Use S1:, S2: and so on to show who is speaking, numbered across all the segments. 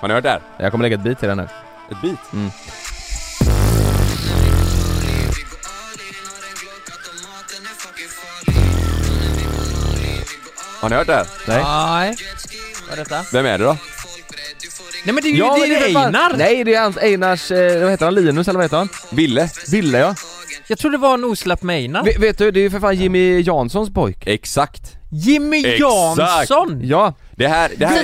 S1: Har ni hört det här?
S2: Jag kommer lägga ett bit till den här. Mm.
S1: Ett beat? Har ni hört det här?
S2: Nej.
S3: Nej. Vad är detta?
S1: Vem är det då?
S3: Nej men det är ju
S2: Ja,
S3: det
S2: men
S3: är
S2: för
S3: ju
S2: fan-
S3: Einar!
S2: Nej, det är hans, Einars, eh, vad heter han, Linus eller vad heter han?
S1: Ville?
S2: Ville ja.
S3: Jag trodde det var en oslapp med Einar.
S2: Ve- vet du, det är ju för fan Jimmy Janssons pojk.
S1: Exakt!
S3: Jimmy
S1: Exakt.
S3: Jansson!
S2: Ja.
S1: Det här, det här...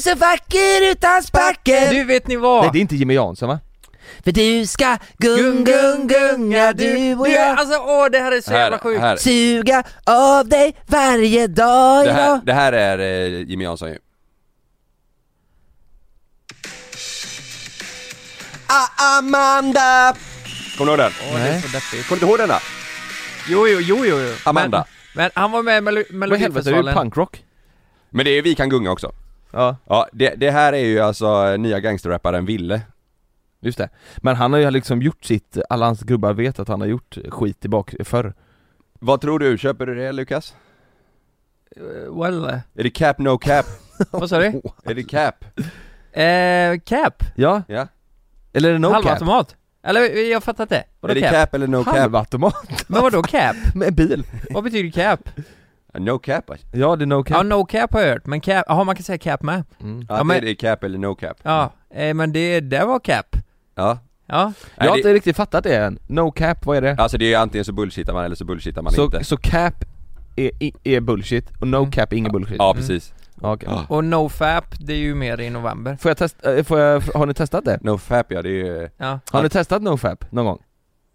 S3: Så vacker utan
S2: spackel.
S3: Du vet ni vad?
S2: Nej, det är inte Jimmy Jansson va?
S4: För du ska
S3: Gung,
S4: gung,
S3: gung,
S4: gung, gunga du och jag
S3: Alltså åh det här är så jävla
S1: Här,
S3: sjukt.
S1: här,
S4: Suga av dig varje dag
S1: det, här,
S4: ja.
S1: det här är eh, Jimmy Jansson ju.
S4: Ah, Amanda!
S1: Kommer ni ihåg den?
S3: Åh, det är så deppigt.
S1: Kommer ni inte ihåg den då?
S3: Jo, jo, jo, jo, jo.
S1: Amanda.
S3: Men, men han var med i Melo-
S2: Vad i helvete, det är ju
S3: Melodifestivalen.
S2: punkrock.
S1: Men det är Vi kan gunga också.
S2: Ja,
S1: Ja, det, det här är ju alltså eh, nya gangsterrapparen Ville.
S2: just det. Men han har ju liksom gjort sitt, alla hans gubbar vet att han har gjort skit tillbaka förr.
S1: Vad tror du? Köper du det Lukas?
S3: Eh, Well, eh,
S1: Är det cap, no cap?
S3: vad sa du?
S1: är det cap?
S3: Eh, cap?
S2: Ja.
S1: Ja.
S2: Eller är det no cap?
S3: Halvautomat? Eller eh, jag fattar inte.
S1: är
S3: Vadå
S1: det
S3: cap?
S1: cap? eller no cap?
S2: Halvautomat?
S3: Men vadå cap?
S2: Med bil?
S3: Vad betyder cap?
S1: No cap alltså.
S2: Ja, det är no
S3: Ja,
S2: cap.
S3: no cap har jag hört, men cap, jaha man kan säga cap med.
S2: Mm.
S1: Ja,
S3: Ja, men-
S1: det är cap eller no cap.
S3: Ja, eh, men det, det var cap.
S1: Ja.
S3: Ja,
S2: Jag har
S1: Nej, det,
S2: inte riktigt fattat det än. No cap, vad är det?
S1: alltså det är antingen så bullshittar man eller så bullshittar man
S2: så,
S1: inte.
S2: så cap är, i- är bullshit och no
S3: Mm.
S2: cap är ingen bullshit?
S1: Ja, precis.
S2: Ja, okej.
S1: Ja.
S3: och no fap, det är ju mer i november.
S2: Får jag testa, eh, får jag, har ni testat det?
S1: No fap ja, det är ju...
S3: Ja,
S2: Har ni testat nofap någon gång?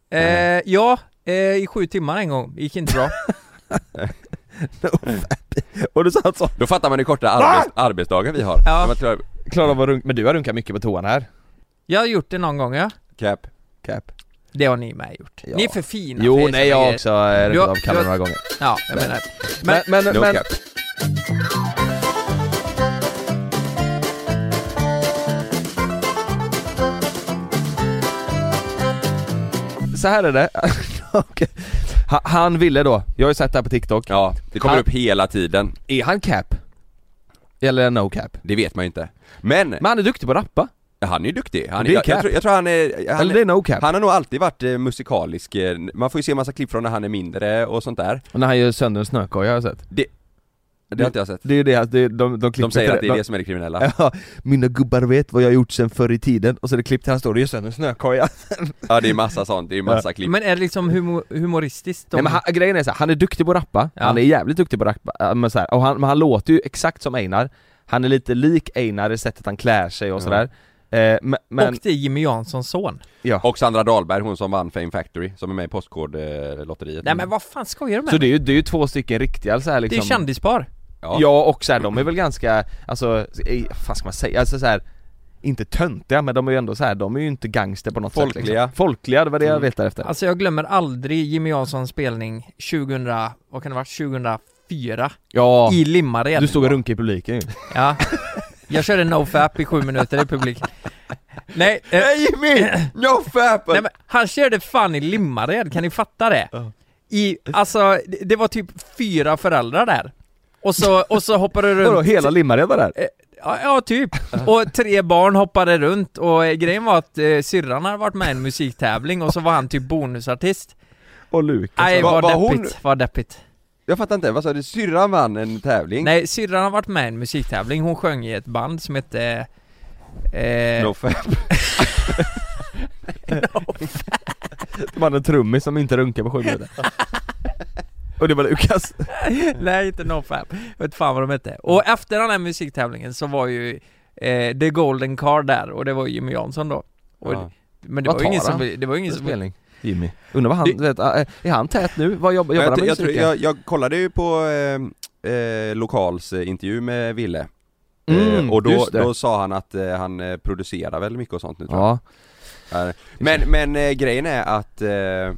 S3: eh, ja eh, i sju timmar en gång, gick inte bra.
S2: Och du sa alltså,
S1: Då fattar man hur korta arbets,
S2: Ah!
S1: arbetsdagen vi har.
S3: Ja.
S1: Men jag tror-
S2: Klara var runk, men du har runkat mycket på toan här?
S3: Jag har gjort det någon gång ja,
S1: Cap.
S2: Cap.
S3: det har ni med gjort.
S2: Ja.
S3: Ni är för fina för
S2: Jo,
S3: er
S2: nej
S3: som
S2: jag
S3: är-
S2: har också eh, runkat
S3: Du har-
S2: av Kalle
S3: du
S2: några gånger.
S3: Ja, jag menar.
S2: Men,
S3: Men,
S2: men, men,
S1: No
S2: men,
S1: cap.
S2: så här är det. Okej. Ha- Han ville då, jag har ju sett det här på TikTok.
S1: Ja, det kommer
S2: Han-
S1: upp hela tiden.
S2: Är han cap? Eller no cap?
S1: Det vet man ju inte. Men,
S2: Men han är duktig på att rappa.
S1: han är ju duktig. Han,
S2: Det är
S1: jag,
S2: cap.
S1: jag, tror, jag tror han är... Han,
S2: Eller det är no cap.
S1: han har nog alltid varit eh, musikalisk. eh, Man får ju se massa klipp från när han är mindre och sånt där.
S2: Och när han gör sönder en snökoja har jag sett.
S1: Det har inte jag sett.
S2: Det är ju det, att det, de, de klipper
S1: De säger
S2: till
S1: att det är
S2: de-
S1: det som är det kriminella.
S2: Ja, mina gubbar vet vad jag har gjort sen förr i tiden och så är det klipp till han står och gör sönder en snökoja.
S1: Ja det är massa sånt, det är massa klipp.
S3: men är det liksom humo, humoristiskt?
S2: Nej, men han, grejen är så här, han är duktig på att rappa,
S3: Ja.
S2: han är jävligt duktig på att rappa, äh, men, så här, och han, men han låter ju exakt som Einar, han är lite lik Einar i sättet han klär sig och
S1: Ja.
S2: sådär. Eh, men, men
S3: Och det är Jimmy Janssons son.
S1: Och Sandra Dahlberg, hon som vann Fame Factory, som är med i Postkodlotteriet.
S3: Nej men vad fan skojar du med?
S2: Mm. så det är, ju, det är ju två stycken riktiga så här,
S3: det är
S2: liksom.
S3: kändispar.
S1: Ja.
S2: Ja och så här, de är väl ganska, alltså, eh, vad ska man säga, alltså så här inte töntiga men de är ju ändå så här, de är ju inte gangster på något sätt
S1: Folkliga. Mm.
S2: liksom. Folkliga, det var det jag letade efter.
S3: Alltså jag glömmer aldrig Jimmy Janssons spelning 2000, vad kan det vara, 2004?
S2: Ja,
S3: I Limmared.
S2: du stod och runkade i publiken ju.
S3: Ja. Jag körde nofap i sju minuter i publik. Nej, eh,
S1: Jimmy! No fap!
S3: nej men han körde fan i Limmared, kan ni fatta det? I, alltså, det, det var typ fyra föräldrar där. Och så, och så hoppade det
S2: Vadå,
S3: runt.
S2: hela Limmared var där?
S3: Ja, ja, typ. Och tre barn hoppade runt och eh, grejen var att eh, syrran hade varit med i en musiktävling och så var han typ bonusartist.
S2: Och Lukas
S3: Nej,
S1: Var-
S3: vad
S1: var hon-
S3: deppigt, vad deppigt.
S1: Jag fattar inte, vad sa du? Syrran vann en tävling?
S3: Nej, syrran har varit med i en musiktävling, hon sjöng i ett band som hette... Eh,
S1: No fap.
S2: De hade en trummis som inte runkade på sju minuter Och det var Lukas
S3: Nej inte Nofap, jag vet fan vad de hette. Och
S2: Mm.
S3: efter den här musiktävlingen så var ju eh, The Golden Car där och det var Jimmy Jansson då. Och,
S1: Ja.
S3: Men det
S2: Vad
S3: var ju ingen
S2: tar
S3: som,
S2: han?
S3: det var ju ingen som...
S2: Spelning Jimmy Undrar vad han,
S1: Det-
S2: vet, äh, är han tät nu? Vad jobbar, jobbar
S1: Jag,
S2: han
S1: jag,
S2: med
S1: jag, tror-
S2: musiken?
S1: jag, jag kollade ju på eh, eh, lokals eh, intervju med Ville
S2: Mm,
S1: eh, Och då,
S2: just det.
S1: då sa han att eh, han eh, producerar väldigt mycket och sånt nu tror jag.
S2: Ja,
S1: Eh, Men, men eh, grejen är att eh,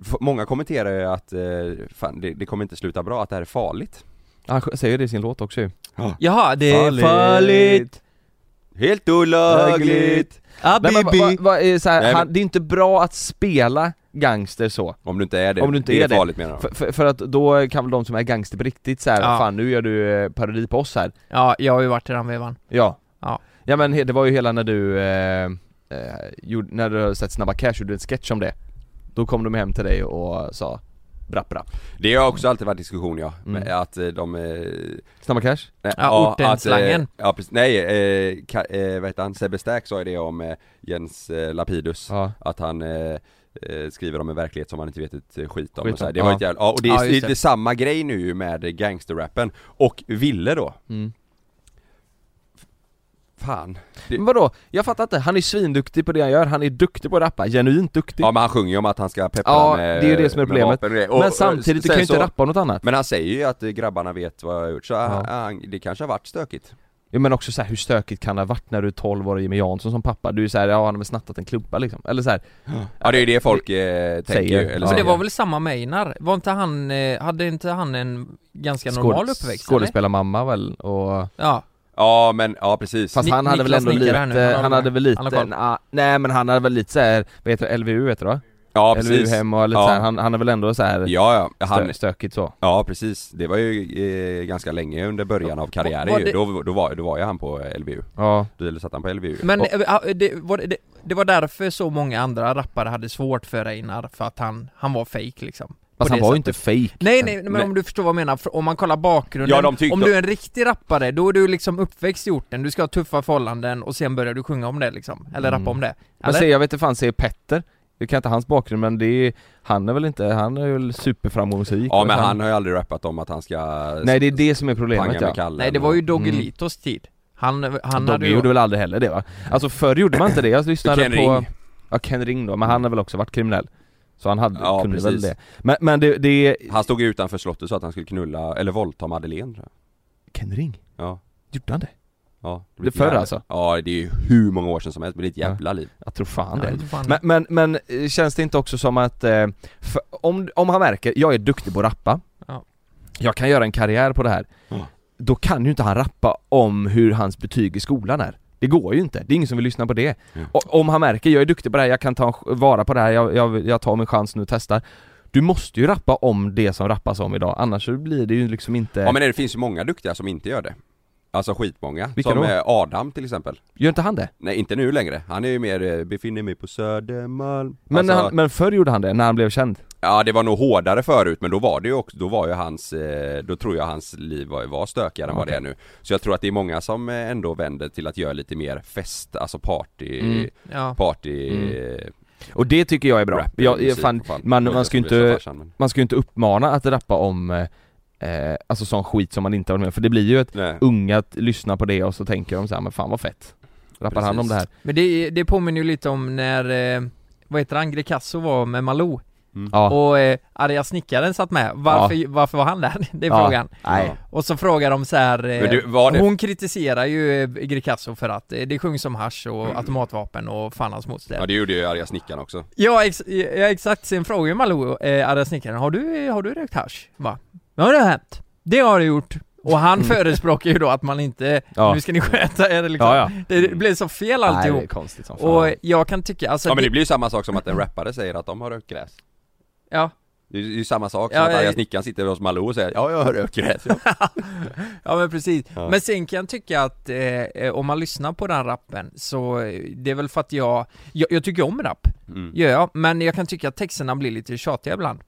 S1: f- Många kommenterar ju att eh, fan, det, det kommer inte sluta bra, att det här är farligt
S2: han sj- säger det i sin låt också ju.
S3: Jaha, det är
S1: Farligt.
S3: farligt!
S1: Helt olagligt!
S2: Nej, men, va, va,
S3: Abibi!
S2: va, eh, så här,
S1: Nej, men-
S2: han, det är inte bra att spela gangster så.
S1: Om du inte är det,
S2: Om du inte
S1: det
S2: är
S1: är
S2: det.
S1: farligt menar de
S2: För, för, för att då kan väl de som är gangster på riktigt så här,
S3: Ja.
S2: fan nu gör du eh, parodi på oss här.
S3: Ja, jag har ju varit i den vevan.
S2: Ja.
S3: Ja.
S2: Ja men he- det var ju hela när du, eh, eh, gjorde, när du hade sett Snabba Cash gjorde en sketch om det. Då kom de hem till dig och sa brapp brapp.
S1: Det har också alltid varit diskussion ja,
S2: Mm.
S1: med att eh, de eh,
S2: Snabba Cash?
S1: Nej,
S3: Ja,
S1: att,
S3: ortenslangen.
S1: eh, Ja, precis, nej, eh, ka, eh, vad heter han? Sebbe Stack sa ju det om eh, Jens eh, Lapidus
S2: Ja.
S1: Att han eh, eh, skriver om en verklighet som han inte vet ett eh, skit om,
S2: Skit
S1: och så här.
S2: om,
S1: Det var
S2: ja.
S1: ett jävla, ja, och det är,
S3: Ja, just
S1: det.
S3: det.
S1: är samma grej nu ju med gangsterrappen Och Ville då,
S2: Mm.
S1: fan
S2: Men vadå? Jag fattar inte, han är svinduktig på det han gör, han är duktig på att rappa, genuint duktig.
S1: Ja men han sjunger ju om att han ska peppra
S2: Ja,
S1: med
S2: det är ju det som är
S1: med
S2: problemet.
S1: vapen och grejer. Och-
S2: men
S1: och
S2: samtidigt, du
S1: sen
S2: kan ju inte
S1: så-
S2: rappa om något annat.
S1: Men han säger ju att eh, grabbarna vet vad jag har gjort, så han,
S2: Ja.
S1: han, det kanske har varit stökigt
S2: Ja, men också så här, hur stökigt kan det ha varit när du är 12 år och Jimmy Jansson som pappa? Du är såhär, ja han har väl snattat en klubba liksom. Eller såhär,
S1: Ja det är ju det folk eh, tänker ju, eller
S2: Ja.
S3: Men det
S1: säger.
S3: var väl samma Meinar? Var inte han, eh, hade inte han en ganska normal uppväxt? eller?
S2: skådespelarmamma väl och...
S3: Ja,
S1: Ja men, ja precis
S2: Fast
S3: Ni-
S2: han hade väl
S3: Niklas
S2: ändå
S3: nickar här nu, han
S2: lite,
S3: har
S2: han hade
S3: koll.
S2: väl lite,
S3: Han har koll.
S2: nja, nej men han hade väl lite såhär, vad heter det, LVU heter det va?
S1: Ja precis
S2: LVU-hem och lite
S1: Ja.
S2: så här, han, han är väl ändå såhär
S1: Ja ja, han,
S2: stö, stökigt så.
S1: Ja precis, det var ju eh, ganska länge under början av karriären
S3: Var
S1: ju.
S3: det-
S1: Då, då, var, då var ju han på eh, LVU,
S2: Ja.
S1: då satt han på LVU
S3: men
S1: och,
S3: eh, eh, det, var, det, det var därför så många andra rappare hade svårt för Einar, för att han, han var fake liksom. På
S2: Fast han
S3: det
S2: var ju
S3: sättet.
S2: inte fake.
S3: Nej nej, men
S1: Nej.
S3: om du förstår vad jag menar, för om man kollar bakgrunden,
S1: Ja, de tyckte-
S3: om du är en riktig rappare, då är du liksom uppväxt i orten, du ska ha tuffa förhållanden och sen börjar du sjunga om det liksom, eller
S2: Mm.
S3: rappa om det.
S2: Men
S3: Eller?
S2: se, jag vet inte fan, se Petter. Jag kan inte hans bakgrund men det är, han är väl inte, han är väl superframgångsrik.
S1: Ja
S2: Och
S1: men han har ju aldrig rappat om att han ska
S2: Nej det är det som är
S1: panga
S2: problemet
S1: med
S2: ja.
S1: Kalle
S3: nej det var ju
S2: Mm.
S3: Doggelitos tid. Han, han hade
S2: Dogge
S3: ju...
S2: gjorde väl aldrig heller det va? Alltså förr gjorde man inte det, jag lyssnade
S1: Ken
S2: på...
S1: Ring.
S2: Ja Ken Ring då, men han har väl också varit kriminell? Så han hade,
S1: Ja,
S2: kunde väl
S1: precis.
S2: det. Men, men det, det är...
S1: Han stod ju utanför slottet så att han skulle knulla, eller våldta Madeleine tror
S2: Ken Ring?
S1: jag. Ja,
S2: Gjorde han det?
S1: ja
S2: Det
S1: blir
S2: förr
S1: jävligt.
S2: alltså?
S1: Ja det är ju hur många år sedan som helst, det blir ett jävla liv
S2: Jag tror fan
S3: Ja,
S2: det.
S3: inte fan.
S2: Men, men, men eh, känns det inte också som att, eh, för, om, om han märker, jag är duktig på att rappa,
S3: Ja.
S2: jag kan göra en karriär på det här,
S1: Ja.
S2: då kan ju inte han rappa om hur hans betyg i skolan är. Det går ju inte, det är ingen som vill lyssna på det.
S1: Ja.
S2: Och, om han märker, jag är duktig på det här, jag kan ta en ch- vara på det här, jag, jag, jag tar min chans nu och testar. Du måste ju rappa om det som rappas om idag, annars så blir det ju liksom inte...
S1: Ja men det finns ju många duktiga som inte gör det Alltså skitmånga,
S2: Vilka
S1: som
S2: då?
S1: eh, Adam till exempel
S2: Gör inte han det?
S1: Nej inte nu längre, han är ju mer, eh, befinner mig på Södermalm
S2: Men,
S1: Alltså-
S2: han, men förr gjorde han det, när han blev känd.
S1: Ja det var nog hårdare förut men då var det ju också, då var ju hans, eh, då tror jag hans liv var, var stökigare än vad det är nu Så jag tror att det är många som eh, ändå vänder till att göra lite mer fest, alltså party,
S2: Mm.
S3: ja.
S1: party
S2: Mm. Och det tycker jag är bra.
S1: rap eller
S2: Jag, jag,
S1: musik,
S2: fan,
S1: vad fan.
S2: man-
S1: Jag
S2: man
S1: vet
S2: ska ju
S1: som blir
S2: inte-
S1: så farsan, men-
S2: man ska ju inte uppmana att rappa om eh, eh, Alltså sån skit som man inte har varit med om. för det blir ju att
S1: Nej.
S2: unga t- lyssnar på det och så tänker de så här, men fan vad fett Rappar han om
S1: Precis.
S2: det här?
S3: Men det, det påminner ju lite om när, eh, vad heter han, Grecasso var med Malou
S2: Ja,
S3: och eh, arga snickaren satt med. Varför, varför var han där? Det är
S2: Ja.
S3: frågan.
S2: nej
S3: Och så frågar de så här, eh,
S1: Men du, var det-
S3: hon kritiserar ju eh, Grecasso för att eh, det sjungs om hasch och automatvapen och fan hans moster.
S1: Mm. Ja det gjorde ju arga snickaren också
S3: Ja, ex- ja exakt, sen frågar ju Malou, eh, arga snickaren, har du, har du rökt hasch? Va? Ja det har hänt. Det har det gjort. Och
S1: Mm.
S3: han förespråkar ju då att man inte,
S2: Ja.
S3: nu ska ni sköta er liksom.
S2: Ja, ja.
S3: Det blev så fel alltihop.
S2: Nej, det är konstigt som fan
S3: Och jag kan tycka, alltså
S1: Ja men det blir ju samma sak som att en rappare säger att de har rökt gräs
S3: ja,
S1: Det är ju det är ju samma sak som
S3: Ja,
S1: att arga
S3: ja.
S1: snickaren sitter hos Malou och säger ja jag har rökt gräs ja.
S3: ja men precis.
S1: Ja.
S3: Men sen kan jag tycka att eh, eh, om man lyssnar på den rappen så eh, det är väl för att jag, jag, jag tycker om rap,
S1: mm.
S3: gör jag, men jag kan tycka att texterna blir lite tjatiga ibland.
S1: Mm.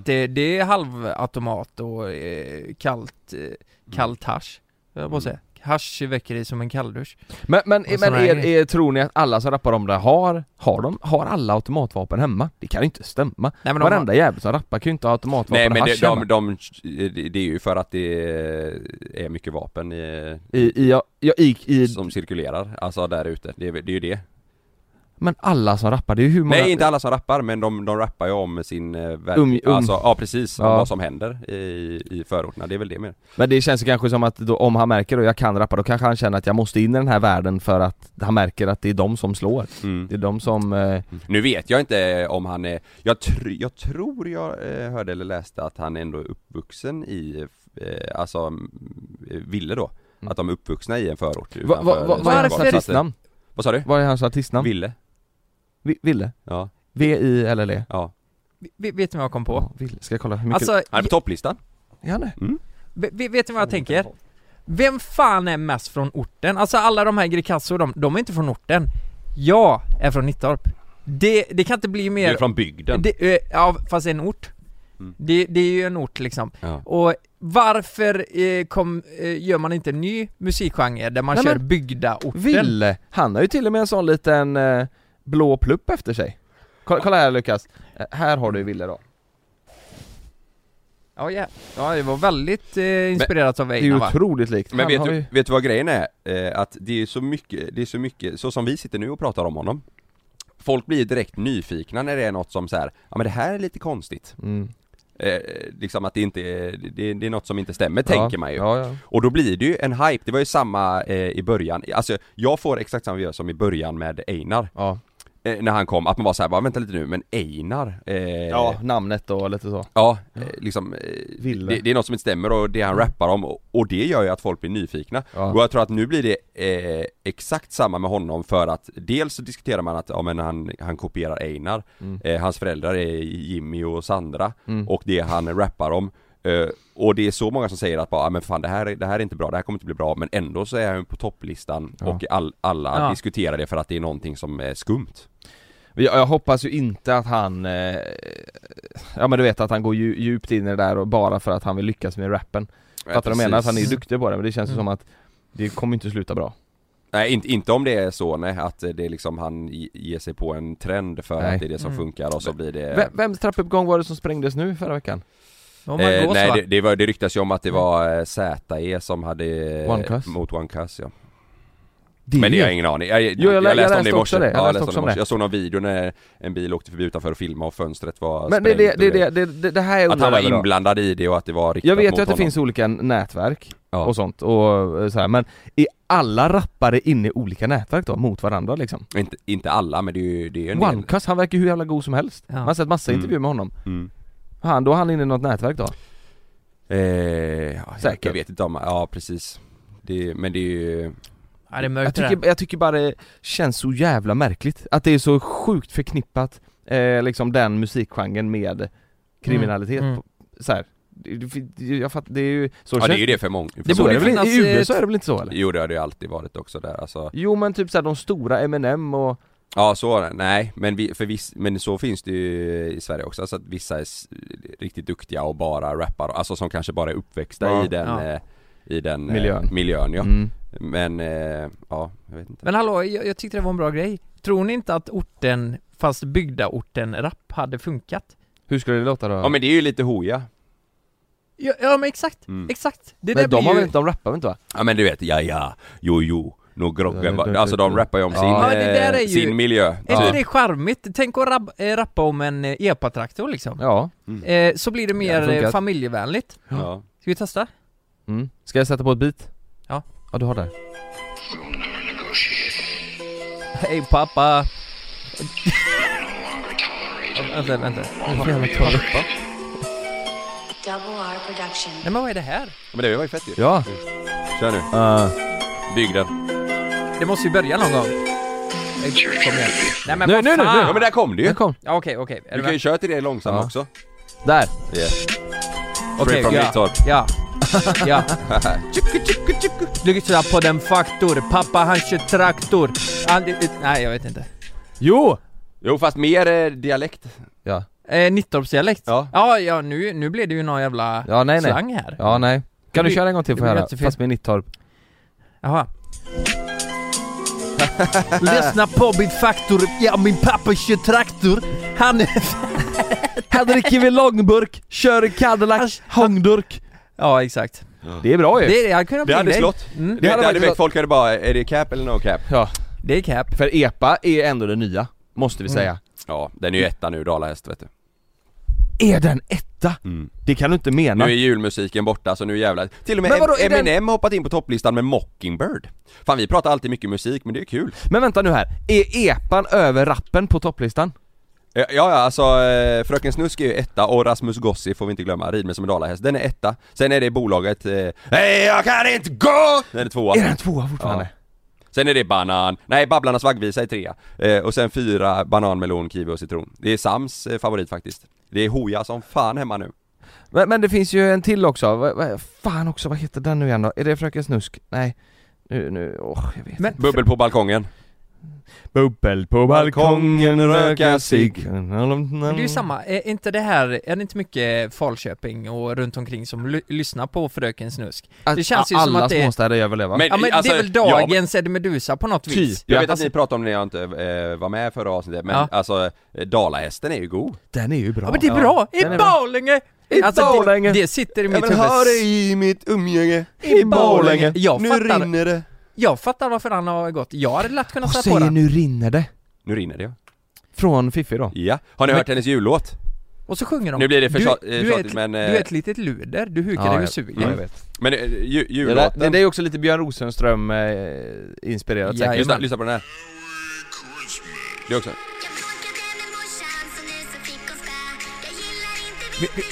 S3: Att eh, det är halvautomat och eh, kallt,
S1: Mm.
S3: eh, kallt hasch, jag måste säga. Hasch väcker dig som en kalldusch.
S2: Men, men,
S3: Och
S2: men
S3: såna här
S2: är,
S3: grejer.
S2: är, tror ni att alla som rappar om det har, har de, har alla automatvapen hemma? Det kan ju inte stämma
S3: Nej, men de-
S2: Varenda jävel som rappar kan ju inte ha automatvapen
S1: Nej
S2: och
S1: men det,
S2: hasch
S1: de,
S2: hemma.
S1: de, det är ju för att det är mycket vapen i,
S2: I, i, ja, ja, i, i,
S1: som cirkulerar, alltså där ute. Det är, det är ju det.
S2: Men alla som rappar, det är ju hur många...
S1: Nej inte alla som rappar men de, de rappar ju om sin eh, verk...
S2: Um- um.
S1: Alltså, ja precis, om
S2: Ja.
S1: vad som händer i, i förorterna, det är väl det mer
S2: Men det känns ju kanske som att då, om han märker att jag kan rappa, då kanske han känner att jag måste in i den här världen för att han märker att det är de som slår.
S1: mm.
S2: Det är de som... Eh,
S1: Nu vet jag inte eh, om han är, jag, tr- jag tror jag eh, hörde eller läste att han ändå är uppvuxen i, eh, alltså mm, Ville då
S2: Mm.
S1: Att de är uppvuxna i en förort
S2: va, va, va,
S1: utanför
S2: vad är hans
S1: Stockholm.
S3: Varför?
S2: artistnamn?
S1: Vad sa du?
S2: Vad är hans artistnamn?
S1: Ville?
S2: Vi- Ville?
S1: Ja,
S2: V-I-L-L-E?
S1: ja
S3: V- vet ni vad jag kom på?
S1: Mm.
S2: Ja, Ville, ska jag kolla hur mycket...
S3: Alltså,
S1: Han är på topplistan Mm.
S2: är han det?
S3: v- v- vet ni vad jag tänker? Vem fan är mest från orten? Alltså alla de här Greekazo, de, de är inte från orten Jag är från Nittorp Det, det kan inte bli
S1: Du är
S3: mer...
S1: från bygden
S3: Det, eh, ja, fast en ort
S1: Mm.
S3: det, det är ju en ort liksom
S1: ja.
S3: Och varför eh, kom, eh, gör man inte en ny musikgenre där man
S2: Nej,
S3: kör
S2: men-
S3: bygdaorten?
S2: Ville, han har ju till och med en sån liten eh, blå plupp efter sig Kolla, kolla här Lukas, Eh, här har du Ville då
S3: Ja, ja. ja, det var väldigt eh, inspirerat av
S2: Det är ju
S3: Einar va?
S2: otroligt likt
S1: Men
S2: Han
S1: vet
S2: har
S1: du,
S2: ju-
S1: vet du vad grejen är? Eh, att det är så mycket, det är så mycket, så som vi sitter nu och pratar om honom Folk blir direkt nyfikna när det är något som så här, ja men det här är lite konstigt
S2: mm.
S1: eh, Liksom att det inte är, det, det är något som inte stämmer tänker
S2: ja,
S1: man ju
S2: ja, ja.
S1: Och då blir det ju en hype, det var ju samma eh, i början, alltså jag får exakt samma vibbar som i början med Einar
S2: Ja.
S1: eh, När han kom, att man var så här, bara vänta lite nu, men Einar? Eh,
S2: ja, namnet och lite så
S1: Ja, eh, liksom eh,
S2: Ville. Mm.
S1: det, det är något som inte stämmer och det han rappar om och, och det gör ju att folk blir nyfikna
S2: Ja.
S1: Och jag tror att nu blir det eh, exakt samma med honom för att dels så diskuterar man att ja, men han, han kopierar Einar
S2: Mm.
S1: eh, Hans föräldrar är Jimmy och Sandra
S2: Mm.
S1: och det han rappar om eh, Och det är så många som säger att bara, "Ah, men fan det här, det här är inte bra, det här kommer inte bli bra men ändå så är han på topplistan
S2: Ja.
S1: och all, alla
S3: Ja.
S1: diskuterar det för att det är någonting som är skumt
S2: Jag, jag hoppas ju inte att han, eh, ja men du vet att han går dju- djupt in i det där och bara för att han vill lyckas med rappen Fattar du vad jag menar? Att han är ju duktig på det men det känns ju
S3: Mm.
S2: som att det kommer inte sluta bra
S1: Nej inte, inte om det är så nej, att eh, det är liksom han ge- ger sig på en trend för
S2: Nej.
S1: att det är det som
S3: Mm.
S1: funkar och så blir det
S2: Vem, Vems trappuppgång var det som sprängdes nu förra veckan?
S3: De har
S1: Eh,
S3: gås,
S1: nej
S3: va?
S1: det, det, var, det ryktas ju om att det var eh, ZE som hade eh,
S2: Mm. One Cuss. Mm.
S1: mot One Cuss ja. Men det har jag ingen aning, jag,
S2: jag lä- jag
S1: läste om
S2: läste
S1: det i morse
S2: också det. Jag
S1: Ja,
S2: läste
S1: jag, läste
S2: också
S1: om
S2: om
S1: det. i morse.
S2: det.
S1: jag såg någon video när en bil åkte förbi utanför och filmade och fönstret var
S2: Men det, är det,
S1: sprängt
S2: det,
S1: och
S2: det, det, det, det här jag
S1: Att han
S2: undrar
S1: var
S2: över då.
S1: inblandad i det och att det var riktat
S2: Jag vet
S1: mot
S2: ju att det
S1: honom.
S2: finns olika nätverk
S1: Ja.
S2: och sånt och eh, så här, men är alla rappare inne i olika nätverk då mot varandra liksom?
S1: inte, inte alla men det är ju det är ju en del
S2: OneCast, han verkar ju hur jävla god som helst.
S3: Ja.
S2: Man har sett massa
S1: Mm.
S2: intervjuer med honom.
S1: mm.
S2: Han, då är han inne i något nätverk då?
S1: eh, ja, jag,
S2: Säkert.
S1: jag vet inte om, ja precis det, Men det är ju
S3: Ja, det är
S2: Jag
S3: mörkt det
S2: tycker, jag tycker bara det känns så jävla märkligt att det är så sjukt förknippat eh, liksom den musikgenren med kriminalitet.
S3: Mm, mm.
S2: på- Så här. Det- det- Jag fattar, det är ju... Så
S1: Ja det är ju
S2: känns-
S1: det för många
S2: det
S3: så
S2: borde
S3: är det
S2: väl inte,
S3: finnas,
S2: I
S3: eh,
S2: USA är det väl inte så eller?
S1: Jo det har det ju alltid varit också där alltså
S2: Jo men typ såhär de stora Eminem och...
S1: Ja så, nej men, vi, för viss, men så finns det ju i Sverige också, alltså att vissa är s- riktigt duktiga och bara rappar, alltså som kanske bara är uppväxta
S2: Ja.
S1: i den,
S3: Ja.
S1: eh, i den eh,
S2: Miljön.
S1: miljön ja.
S2: Mm.
S1: Men, eh, ja jag vet inte
S3: Men hallå, jag, jag tyckte det var en bra grej Tror ni inte att orten, fast bygdaorten-rapp hade funkat?
S2: Hur skulle det låta då?
S1: Ja men det är ju lite hoja
S3: Ja, ja men exakt,
S1: Mm.
S3: exakt! Det där
S2: men de,
S3: blir
S2: har
S3: ju...
S2: väl inte, de rappar väl inte va?
S1: Ja men du vet, ja ja, jo jo, no groggen, va- alltså de rappar ju om sin,
S2: Ja,
S3: det där är
S1: eh,
S3: ju-
S1: sin miljö
S3: Är inte
S1: typ.
S3: det charmigt? Tänk att rab- eh, rappa om en eh, epatraktor liksom
S2: Ja.
S3: eh, Så blir det mer
S2: hade Mm. funkat.
S3: eh, familjevänligt
S1: ja.
S3: Ska vi testa?
S2: Mm. Ska jag sätta på ett beat?
S3: Ja.
S2: Ja du har det.
S3: Hej pappa! vänta, vänta. Nu har jag tolkat.
S5: Double R Production.
S3: Nej men vad är det här?
S1: Men det var ju fett ju,
S2: Ja.
S1: kör nu,
S2: Uh,
S1: bygden
S3: Det måste ju börja någon gång. Eh, Kom igen. Nej men
S2: Nu,
S3: vad
S2: nu, nu, nu.
S1: Ja
S3: fan!
S1: men där kom det ju!
S2: där Eh, kom.
S3: Ja, Okej, okej. Är
S1: Du
S3: du
S1: kan ju
S3: med?
S1: köra till det långsamma
S2: Ja.
S1: också
S2: Där.
S1: yeah.
S3: Okej,
S1: from
S3: ja.
S1: Nittorp.
S3: Ja. Ja. Lyssna på den faktor. Pappa han kör traktor. Han, eh, nej jag vet inte.
S2: Jo!
S1: Jo fast mer eh, dialekt
S2: Ja.
S3: Eh, Nittorpsdialekt?
S1: Ja.
S3: ja. Ja, nu, nu blev det ju någon jävla
S2: Ja nej nej.
S3: slang här.
S2: Ja nej. Kan du köra en gång till
S3: det
S2: för
S3: blir
S2: höra?
S3: jättefel.
S2: Fast med Nittorp.
S3: Jaha. Lyssna på min faktor, ja min pappa kör traktor. Han är...
S2: Han dricker vid långburk, kör en Cadillac, hångdurk.
S3: Ja exakt.
S2: Det är bra ju.
S3: Alltså, Det hade kunnat
S1: Det
S3: bli
S1: hade
S3: dig.
S1: slått.
S3: Mm.
S1: Det hade,
S2: hade
S1: hade
S2: faktiskt
S1: väckt folk hade bara, är det cap eller no cap?
S2: Ja.
S3: Det är cap.
S2: För EPA är ändå det nya. måste vi
S3: Mm.
S2: säga.
S1: Ja, den är ju etta nu, Dalahäst vet du
S2: Är den etta? Det kan du inte mena.
S1: Nu är julmusiken borta så nu jävlar Till och med
S2: Men vadå, är
S1: Eminem har hoppat in på topplistan med Mockingbird Fan vi pratar alltid mycket musik men det är kul
S2: Men vänta nu här, är epan över rappen på topplistan?
S1: Ja, ja alltså eh, Fröken Snusk är ju etta och Rasmus Gossi får vi inte glömma, Rid mig som en dalahäst, den är etta Sen är det bolaget eh, Hej jag kan inte gå! Den är tvåa
S2: Är den tvåa fortfarande?
S1: Sen är det banan, nej Babblarnas vaggvisa är trea eh, Och sen fyra banan, melon, kiwi och citron Det är Sams eh, favorit faktiskt Det är hoja som fan hemma nu
S2: Men, men det finns ju en till också, vad, vad, fan också, vad heter den nu igen då? Är det Fröken Snusk? Nej, nu, nu, åh jag vet
S3: Men-
S2: inte.
S1: Bubbel på balkongen
S2: Bubbel på
S1: balkongen, röka cigg.
S3: Men det är ju samma, är inte det här, är det inte mycket Falköping och runt omkring som ly- lyssnar på Fröken Snusk?
S2: Att,
S3: Det känns ju
S2: alla
S3: som att det är-
S2: småstäder gör väl det va?
S1: Men-
S3: Ja men
S1: Alltså,
S3: det är väl
S1: ja,
S3: dagens Eddie Meduza på något
S2: Typ.
S3: vis? Alltså-
S1: Jag vet
S2: Ja,
S1: att ni pratade om det när jag inte eh, var med förra avsnittet men
S3: Ja.
S1: alltså eh, dalahästen är ju god
S2: den är ju bra.
S3: Ja men det är bra! I
S2: Den är bra.
S3: Borlänge! Alltså,
S2: I
S3: det,
S2: Borlänge.
S3: det sitter i mitt huvud
S1: i mitt umgänge
S3: I Borlänge. Jag fattar.
S1: det
S3: Jag fattar varför han har gått, jag hade lätt kunnat
S2: Vad
S3: sätta på
S2: säger
S3: den
S2: nu rinner det?
S1: Nu rinner det ja.
S2: Från Fiffi då?
S1: ja. Har ni
S3: Men-
S1: hört hennes jullåt?
S3: Och så sjunger de
S1: Nu blir det för
S3: du,
S1: tjat- eh,
S3: du, är
S1: tjatigt,
S3: ett,
S1: men,
S3: du
S1: eh,
S3: är ett litet luder, du hukar dig ur sugen
S2: ja, jag vet.
S1: Men eh, ju,
S2: Det, där,
S1: jullåten,
S2: det, det är också lite Björn Rosenström eh, inspirerat
S3: Ja,
S2: säkert.
S1: lyssna,
S3: jajamän.
S1: lyssna på den här Det är också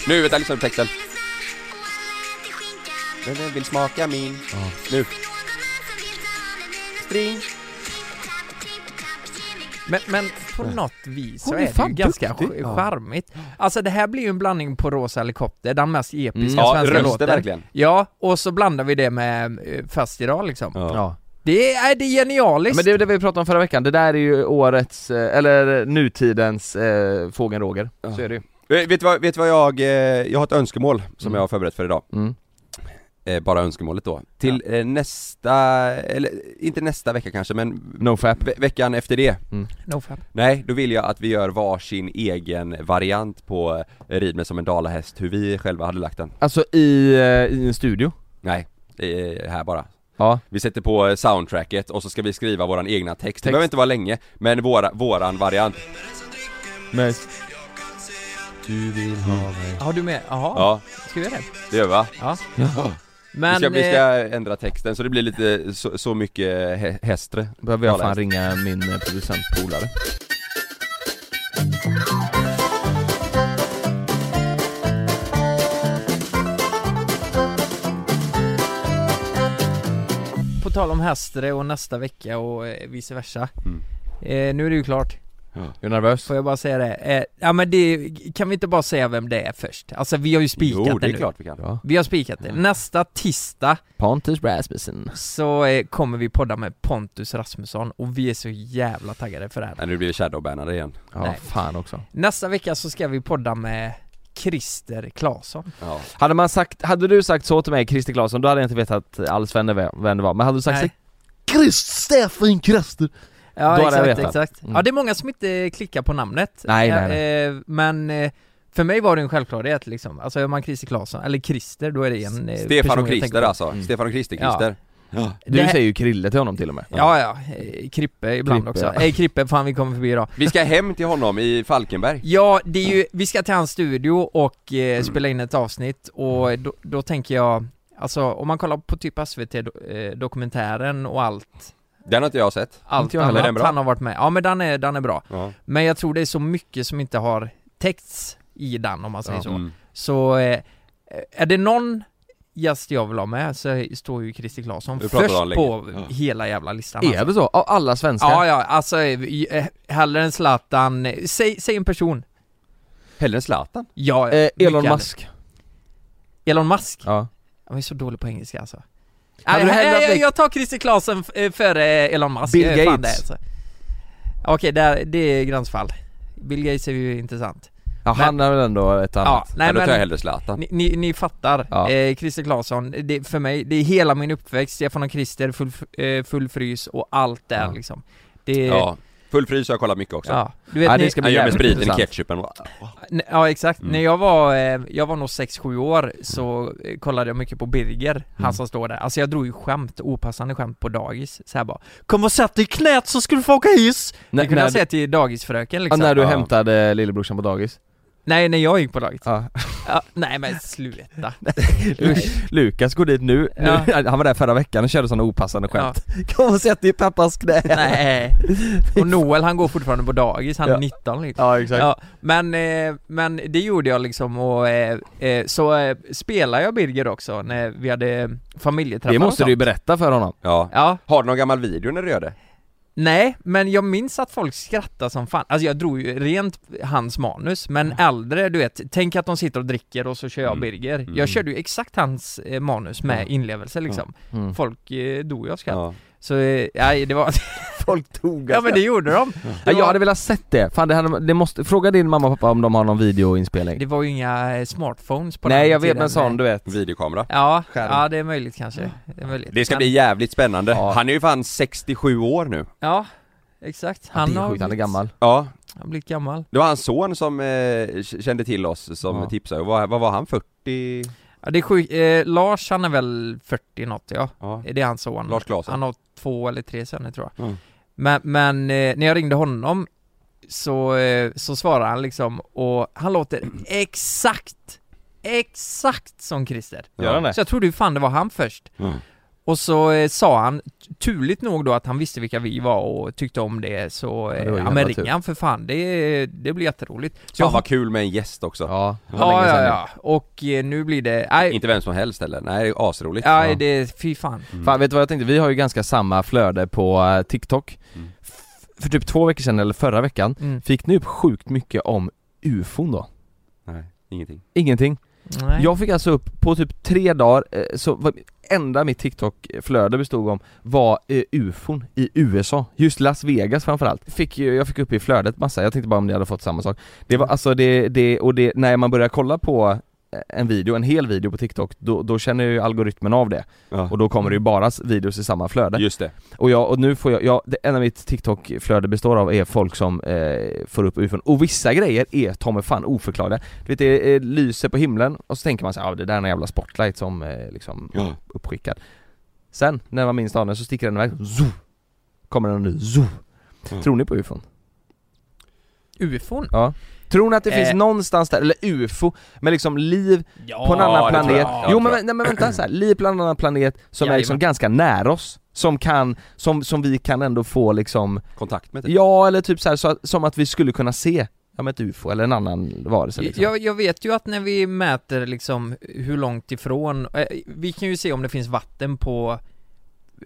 S1: Nu vänta, lyssna på texten Men den vill smaka min Nu String
S3: Men, men på något vis så
S2: Hon är
S3: är, det
S2: fan
S3: ju ganska
S2: duktig.
S3: sk-
S2: Ja.
S3: charmigt Alltså det här blir ju en blandning på Rosa Helikopter, den mest episka
S2: Mm.
S1: Ja,
S3: svenska
S1: rösten
S3: låten
S1: verkligen.
S3: Ja, och så blandar vi det med eh, Fast idag liksom
S1: Ja.
S2: Ja.
S3: Det är, det är genialiskt!
S2: Men det är det vi pratade om förra veckan, det där är ju årets, eh, eller nutidens eh, Fågeln Roger. Så är det ju.
S1: Eh, Vet du vad, vet du vad jag, eh, jag har ett önskemål som
S2: Mm.
S1: jag har förberett för idag
S2: Mm.
S1: eh, Bara önskemålet då, till eh, nästa, eller inte nästa vecka kanske men
S2: Nofap.
S1: ve- veckan efter det
S3: Nofap.
S1: Nej, då vill jag att vi gör varsin egen variant på eh, Rid mig som en dalahäst, hur vi själva hade lagt den
S2: Alltså i, eh, i en studio.
S1: Nej, eh, här bara
S2: Ja.
S1: Vi sätter på eh, soundtracket och så ska vi skriva våran egna text, det
S2: Text.
S1: behöver inte vara länge, men våra, våran variant
S2: Du vill ha mig.
S3: Har du med? Jaha,
S1: Ja,
S3: ska vi göra det?
S1: det gör vi va?
S3: Ja,
S2: Ja.
S1: Vi
S3: men...
S1: ska, vi
S3: eh,
S1: ska ändra texten så det blir lite så, så mycket hä- hästre
S2: Behöver jag fan
S1: Dalahäst.
S2: ringa min eh, producentpolare.
S3: På tal om Hästre och nästa vecka och eh, vice versa
S1: Mm.
S3: eh, Nu är det ju klart,
S2: Är du nervös?
S3: får jag bara säga det? Eh, ja men det, kan vi inte bara säga vem det är först? Alltså vi har ju spikat
S1: Jo, det är
S3: nu
S1: klart vi kan
S2: Ja.
S3: Vi har spikat det, nästa tisdag
S2: Pontus Rasmussen.
S3: så eh, kommer vi podda med Pontus Rasmusson och vi är så jävla taggade för det här
S1: Nej, nu blir vi shadowbannade igen
S2: Ja,
S3: Nej.
S2: fan också.
S3: Nästa vecka så ska vi podda med Christer Claesson
S1: ja.
S2: Hade man sagt, hade du sagt så till mig, Christer Claesson, då hade jag inte vetat alls vem det var, vem det var. men hade du sagt
S3: Nej.
S2: så- Christ, Stefan Christer!
S3: Ja
S2: Då hade jag
S3: exakt,
S2: vetat.
S3: exakt
S2: Mm.
S3: Ja det är många som inte klickar på namnet
S2: Nej,
S3: Eh,
S2: nej,
S3: eh, Men eh, för mig var det en självklarhet liksom, alltså är man Christer Claesson, eller Christer, då är det en eh,
S1: Stefan och
S3: person jag tänker
S1: Christer
S3: på.
S1: alltså,
S2: Mm.
S1: Stefan och Christer,
S3: Ja.
S1: Christer
S2: Du
S3: Det här-
S2: säger ju Krille till honom till och med.
S3: Ja ja, eh, Krippe ibland
S2: Krippe,
S3: också.
S2: ja.
S3: Nej Krippe, fan vi kommer förbi idag
S1: Vi ska hem till honom i Falkenberg
S3: Ja, det är ju, vi ska till hans studio och eh, spela in ett avsnitt och då, då tänker jag, alltså om man kollar på typ SVT-dokumentären och allt,
S1: Den har inte jag sett
S3: allt
S2: Inte jag heller.
S1: Är den
S3: annat
S1: bra?
S3: han har varit med Ja men den är, den är bra.
S1: ja.
S3: Men jag tror det är så mycket som inte har täckts i den om man säger
S2: Ja.
S3: så.
S1: mm.
S3: Så, eh, är det någon gäst jag vill ha med så står ju Christer Claesson
S1: Vi pratar
S3: först
S1: om länge.
S3: på
S1: Ja.
S3: hela jävla listan
S2: Är det så? Av alla svenskar?
S3: Ja, ja, alltså eh, hellre än Zlatan, eh, säg, säg en person.
S1: Hellre än Zlatan
S3: Ja,
S2: Eh,
S3: mycket
S2: Elon
S3: hellre.
S2: Musk?
S3: Elon Musk?
S2: Ja.
S3: Han är så dålig på engelska alltså
S2: Hade
S3: Nej,
S2: du
S3: nej,
S2: hellre
S3: jag,
S2: haft-
S3: jag tar Christer Claesson f- eh, före eh, Elon Musk
S2: Bill
S3: Jag är fan
S2: Gates.
S3: det, alltså. Okej, där, det är gränsfall Bill Gates är ju intressant
S2: ja
S3: Men-
S2: han har väl ändå ett
S3: Ja,
S2: annat?
S1: Nej
S3: nej
S1: men... Då tar jag
S3: men
S1: hellre Zlatan
S3: ni, ni, ni fattar,
S2: Ja.
S3: eh, Christer Claesson, det, för mig, det är hela min uppväxt, Stefan och Christer, full, f- eh, full frys och allt där
S2: Ja.
S3: liksom Det,
S1: Ja Full frys har jag kollat mycket också.
S3: Ja, du vet,
S2: Ja, det
S3: ni-
S2: ska bli
S1: Han gör med
S2: jävligt
S1: spriten i
S2: intressant.
S1: ketchupen och...
S3: N- Ja exakt,
S1: Mm.
S3: när jag var, eh, jag var nog 6-7 år så eh, kollade jag mycket på Birger,
S2: Mm.
S3: han som står där. Alltså jag drog ju skämt, opassande skämt på dagis, så här bara 'Kom och sätt dig i knät så ska du få åka hiss'
S2: När-
S3: Det kunde
S2: när
S3: jag
S2: du-
S3: säga till dagisfröken
S2: Ja,
S3: liksom
S2: när du
S1: Ja.
S2: hämtade lillebrorsan på dagis?
S3: Nej, när jag gick på dagis.
S2: Ja.
S3: Ja, nej men sluta.
S2: Lukas går dit nu, nu han var där förra veckan och körde sådana opassande
S3: Ja,
S2: skämt Kom och sätt dig i pappas knä!
S3: nej. Och Noel han går fortfarande på dagis, han är
S2: Ja.
S3: 19 liksom.
S2: Ja exakt
S3: Ja, men, eh, men det gjorde jag liksom och eh, eh, så eh, spelade jag Birger också när vi hade familjeträffar
S2: Det
S3: och
S2: måste
S3: sånt.
S2: du ju berätta för honom
S1: Ja.
S3: Ja,
S1: Har du någon gammal video när du gör det?
S3: nej, men jag minns att folk skrattade som fan. Alltså jag drog ju rent hans manus, men
S2: Mm.
S3: äldre, du vet, tänk att de sitter och dricker och så kör jag
S1: Mm.
S3: Birger.
S1: Mm.
S3: Jag körde ju exakt hans eh, manus med inlevelse liksom.
S2: Mm.
S3: Folk eh, dog ju av skratt.
S1: Ja.
S3: Så, eh, nej, det var...
S2: Folk tog
S3: ja men det gjorde de!
S2: ja,
S3: Det var,
S2: Jag hade velat sett det, fan det, hade, det måste, fråga din mamma och pappa om de har någon videoinspelning
S3: det var ju inga eh, smartphones på
S2: Nej
S3: den
S2: jag vet
S3: tiden.
S2: men sån du vet
S1: Videokamera.
S3: Ja,
S2: Skärm.
S3: ja det är möjligt kanske. Det, är möjligt.
S1: Det ska
S3: Men-
S1: bli jävligt spännande.
S2: Ja.
S1: Han är ju fan 67 år nu.
S3: Ja, exakt.
S2: Han
S3: Han
S2: det är
S3: har
S2: sjukt, han är
S3: blivit-
S2: gammal
S1: Ja.
S3: Han har blivit gammal.
S1: Det var hans son som eh, k- kände till oss som
S2: Ja.
S1: tipsade. Vad, vad var han? 40?
S3: Ja, det är sjukt. Eh, Lars han är väl 40 något ja.
S1: Ja.
S3: Det är hans son.
S1: Lars
S2: typ
S1: Claesson.
S3: Han har två eller tre söner tror jag.
S1: Mm.
S3: Men, men eh, när jag ringde honom så, eh, så svarade han liksom och han låter exakt, exakt som Christer.
S2: Gör han det?
S3: Så jag trodde ju fan det var han först.
S1: Mm.
S3: Och så eh, sa han, turligt nog då att han visste vilka vi var och tyckte om det så,
S2: Ja,
S3: eh,
S2: det var ju
S3: ja men
S2: jävla tur.
S3: ring han för fan, det, det blir jätteroligt. Så jag
S1: Fan vad kul med en gäst också.
S2: Ja,
S3: Ja, ja, ja. Och eh, nu blir det... Nej,
S1: Inte vem som helst heller. Nej, det är asroligt. Mm.
S3: nej det... Fy fan.
S2: Fan vet du vad jag tänkte? Vi har ju ganska samma flöde på eh, TikTok
S1: Mm.
S2: F- För typ två veckor sedan, eller förra veckan,
S3: Mm.
S2: fick ni upp sjukt mycket om ufon då?
S1: Nej, ingenting.
S2: Ingenting
S3: Nej.
S2: Jag fick alltså upp, på typ tre dagar, eh, så var, enda mitt TikTok-flöde bestod om var eh, ufon i USA, just Las Vegas framförallt. Fick, ju- jag fick upp i flödet massa, jag tänkte bara om ni hade fått samma sak. Det var alltså det, det och det, när man börjar kolla på eh, en video, en hel video på TikTok, då, då känner ju algoritmen av det.
S1: Ja.
S2: Och då kommer det ju bara s- videos i samma flöde.
S1: Just det.
S2: Och, jag, och nu får jag, jag det enda mitt TikTok-flöde består av är folk som eh, får upp ufon. Och vissa grejer är ta mig fan oförklarliga. Du vet det eh, lyser på himlen och så tänker man sig ja ah, det där är en jävla spotlight som eh, liksom
S1: Ja.
S2: uppskickad. Sen, när man minst anar det, så sticker den iväg, zoo! Kommer den nu, zoo!
S1: Mm.
S2: Tror ni på ufon?
S3: UFOn?
S2: Tror ni att det
S3: Eh.
S2: finns någonstans där, eller ufo, med liksom liv på en annan
S1: det tror
S2: planet?
S1: jag. Ja,
S2: jo
S1: det
S2: men,
S1: tror jag.
S2: nej, men vänta så här. liv på en annan planet som är liksom
S3: Jajamän.
S2: ganska nära oss, som kan, som, som vi kan ändå få liksom
S1: Kontakt med typ.
S2: Ja, eller typ så här, så att, som att vi skulle kunna se ja, men ett ufo eller en annan varelse liksom.
S3: Jag, jag vet ju att när vi mäter liksom hur långt ifrån... eh, Vi kan ju se om det finns vatten på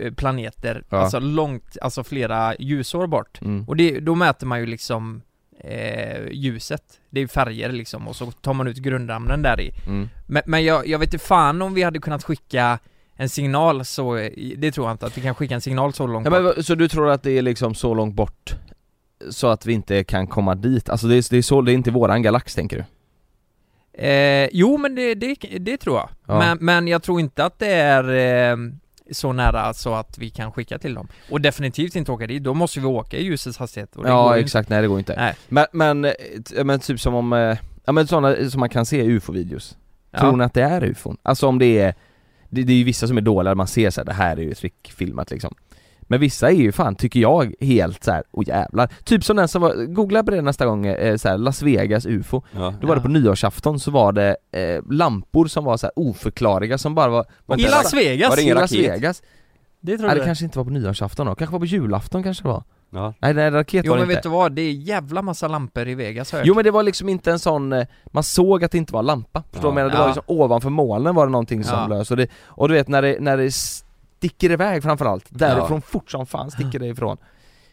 S3: eh, planeter,
S2: Ja.
S3: alltså långt, alltså flera ljusår bort.
S2: Mm.
S3: Och det, då mäter man ju liksom eh, ljuset. Det är ju färger liksom och så tar man ut grundämnen där i.
S2: Mm.
S3: Men, men jag, jag vet inte fan om vi hade kunnat skicka en signal så, det tror jag inte att vi kan skicka en signal så långt
S2: Ja, men, vad- så du tror att det är liksom så långt bort så att vi inte kan komma dit? Alltså det är, det är, så, det är inte våran galax tänker du?
S3: Eh, jo men det, det, det tror jag.
S2: Ja.
S3: Men, men jag tror inte att det är eh, så nära så att vi kan skicka till dem. Och definitivt inte åka dit, då måste vi åka i ljusets hastighet. Och det går
S2: Ja
S3: ju
S2: exakt, nej det går inte.
S3: Nej.
S2: Men, men, eh, t- men typ som om, eh, ja men sådana som man kan se i ufo-videos.
S3: inte.
S2: Tror ni att det är ufon? Alltså om det är, det, det är ju vissa som är dåliga, man ser så här, det här är ju trickfilmat liksom. Men vissa är ju fan, tycker jag, helt så här, åh jävlar. Typ som den som var, googla på det nästa gång, eh, så här, Las Vegas ufo.
S1: Ja.
S2: Då var det
S3: Ja.
S2: på nyårsafton så var det eh, lampor som var så här oförklarliga som bara var...
S3: I
S1: Vänta,
S3: Las Vegas!
S1: Var det
S2: I
S1: ingen
S2: Las
S1: raket?
S2: Vegas.
S3: Det tror
S2: Nej
S3: jag.
S2: det kanske inte var på nyårsafton då, kanske var på julafton kanske det var?
S1: Ja.
S2: Nej nej raket
S3: Jo
S2: var det
S3: men
S2: inte
S3: vet du vad, det är jävla massa lampor i Vegas har jag
S2: Jo men det var liksom inte en sån, eh, man såg att det inte var en lampa, förstår du vad jag menar? Det var
S3: Ja.
S2: liksom ovanför molnen var det någonting som
S3: Ja.
S2: lös och, det, och du vet när det, när det sticker iväg framförallt, därifrån fort som fan sticker det ifrån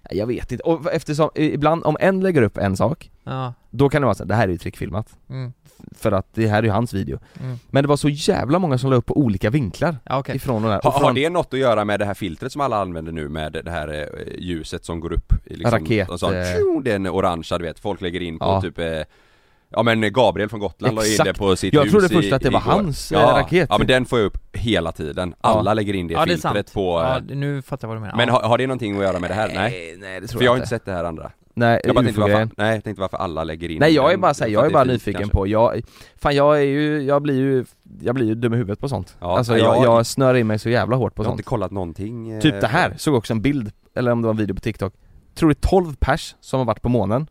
S2: Nej, Jag vet inte, och eftersom i- ibland om en lägger upp en sak,
S3: Ja.
S2: då kan det vara så här, det här är ju trickfilmat,
S3: Mm.
S2: för att det här är ju hans video
S3: Mm.
S2: Men det var så jävla många som la upp på olika vinklar
S3: Ja, okej.
S2: ifrån den här,
S1: Har,
S2: och
S1: har
S2: från,
S1: det något att göra med det här filtret som alla använder nu med det här eh, ljuset som går upp? I liksom
S2: Raket,
S1: Och så,
S2: eh.
S1: tjo, den orangea du vet, folk lägger in på
S2: Ja.
S1: typ eh, Ja men Gabriel från Gotland la in
S2: Exakt.
S1: det på sitt
S2: Jag
S1: hus
S2: trodde
S1: i-
S2: först att det var
S1: igår.
S2: hans, eh,
S1: ja.
S2: raket.
S1: Ja men den får jag upp hela tiden, alla
S2: Ja.
S1: lägger in det
S3: Ja det är sant.
S1: filtret på eh,
S3: Ja, nu fattar jag vad du menar.
S1: Men
S3: ja.
S1: har, har det någonting att göra med det här? Nej,
S2: nej det tror
S1: för jag har inte sett det här andra
S2: Nej,
S1: Jag bara tänkte varför,
S2: UFO-grejen.
S1: nej, jag tänkte varför alla lägger in
S2: Nej jag är
S1: den.
S2: bara såhär,
S1: För
S2: jag är
S1: att det
S2: bara
S1: fint,
S2: nyfiken
S1: kanske.
S2: på, jag, fan jag är ju, jag blir ju, jag blir ju dum i huvudet på sånt
S1: Ja,
S2: Alltså
S1: nej,
S2: jag,
S1: jag-
S2: jag, snör in mig så jävla hårt på
S1: Jag har
S2: sånt
S1: inte kollat någonting eh,
S2: Typ det här, såg också en bild, eller om det var en video på TikTok Tror det är 12 pers som har varit på månen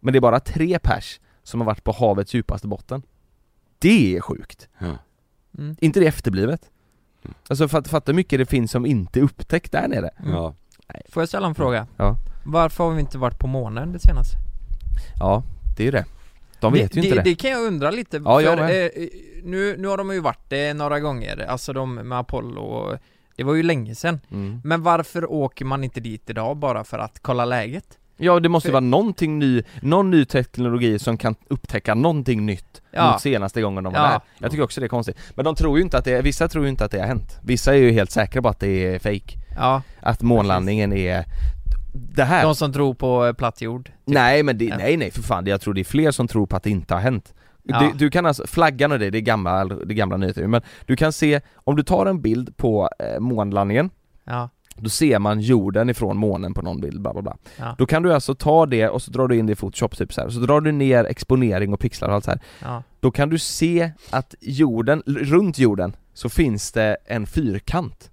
S2: Men det är bara 3 pers som har varit på havets djupaste botten Det är sjukt!
S1: Ja.
S3: Mm.
S2: Inte det efterblivet?
S1: Mm.
S2: Alltså fatt- fatta hur mycket det finns som inte är upptäckt där nere
S1: Ja,
S3: Får jag ställa en fråga?
S2: Ja.
S3: Varför har vi inte varit på månen det senaste?
S2: Ja, det är ju det De vet
S3: det,
S2: ju inte det,
S3: det kan jag undra lite,
S2: Ja, jag
S3: för
S2: med.
S3: eh, nu, nu har de ju varit det några gånger, alltså de med Apollo och, Det var ju länge sedan
S2: Mm.
S3: Men varför åker man inte dit idag bara för att kolla läget?
S2: Ja det måste
S3: För-
S2: vara någonting ny, någon ny teknologi som kan upptäcka någonting nytt
S3: Ja.
S2: mot senaste gången de var
S3: Ja.
S2: där Jag tycker också det är konstigt, men de tror ju inte att det, vissa tror ju inte att det har hänt Vissa är ju helt säkra på att det är fake
S3: Ja,
S2: Att månlandningen är det här,
S3: de som tror på eh, platt jord
S2: nej men det,
S3: Ja.
S2: nej nej för fan, jag tror det är fler som tror på att det inte har hänt
S3: Ja.
S2: du, du kan alltså, flaggan och det, det är gamla, det är gamla nyheter men du kan se, om du tar en bild på eh, månlandningen
S3: Ja,
S2: då ser man jorden ifrån månen på någon bild, bla bla bla.
S3: Ja.
S2: Då kan du alltså ta det och så drar du in det i Photoshop typ så här. så drar du ner exponering och pixlar och allt så här.
S3: ja,
S2: Då kan du se att jorden, l- runt jorden, så finns det en fyrkant.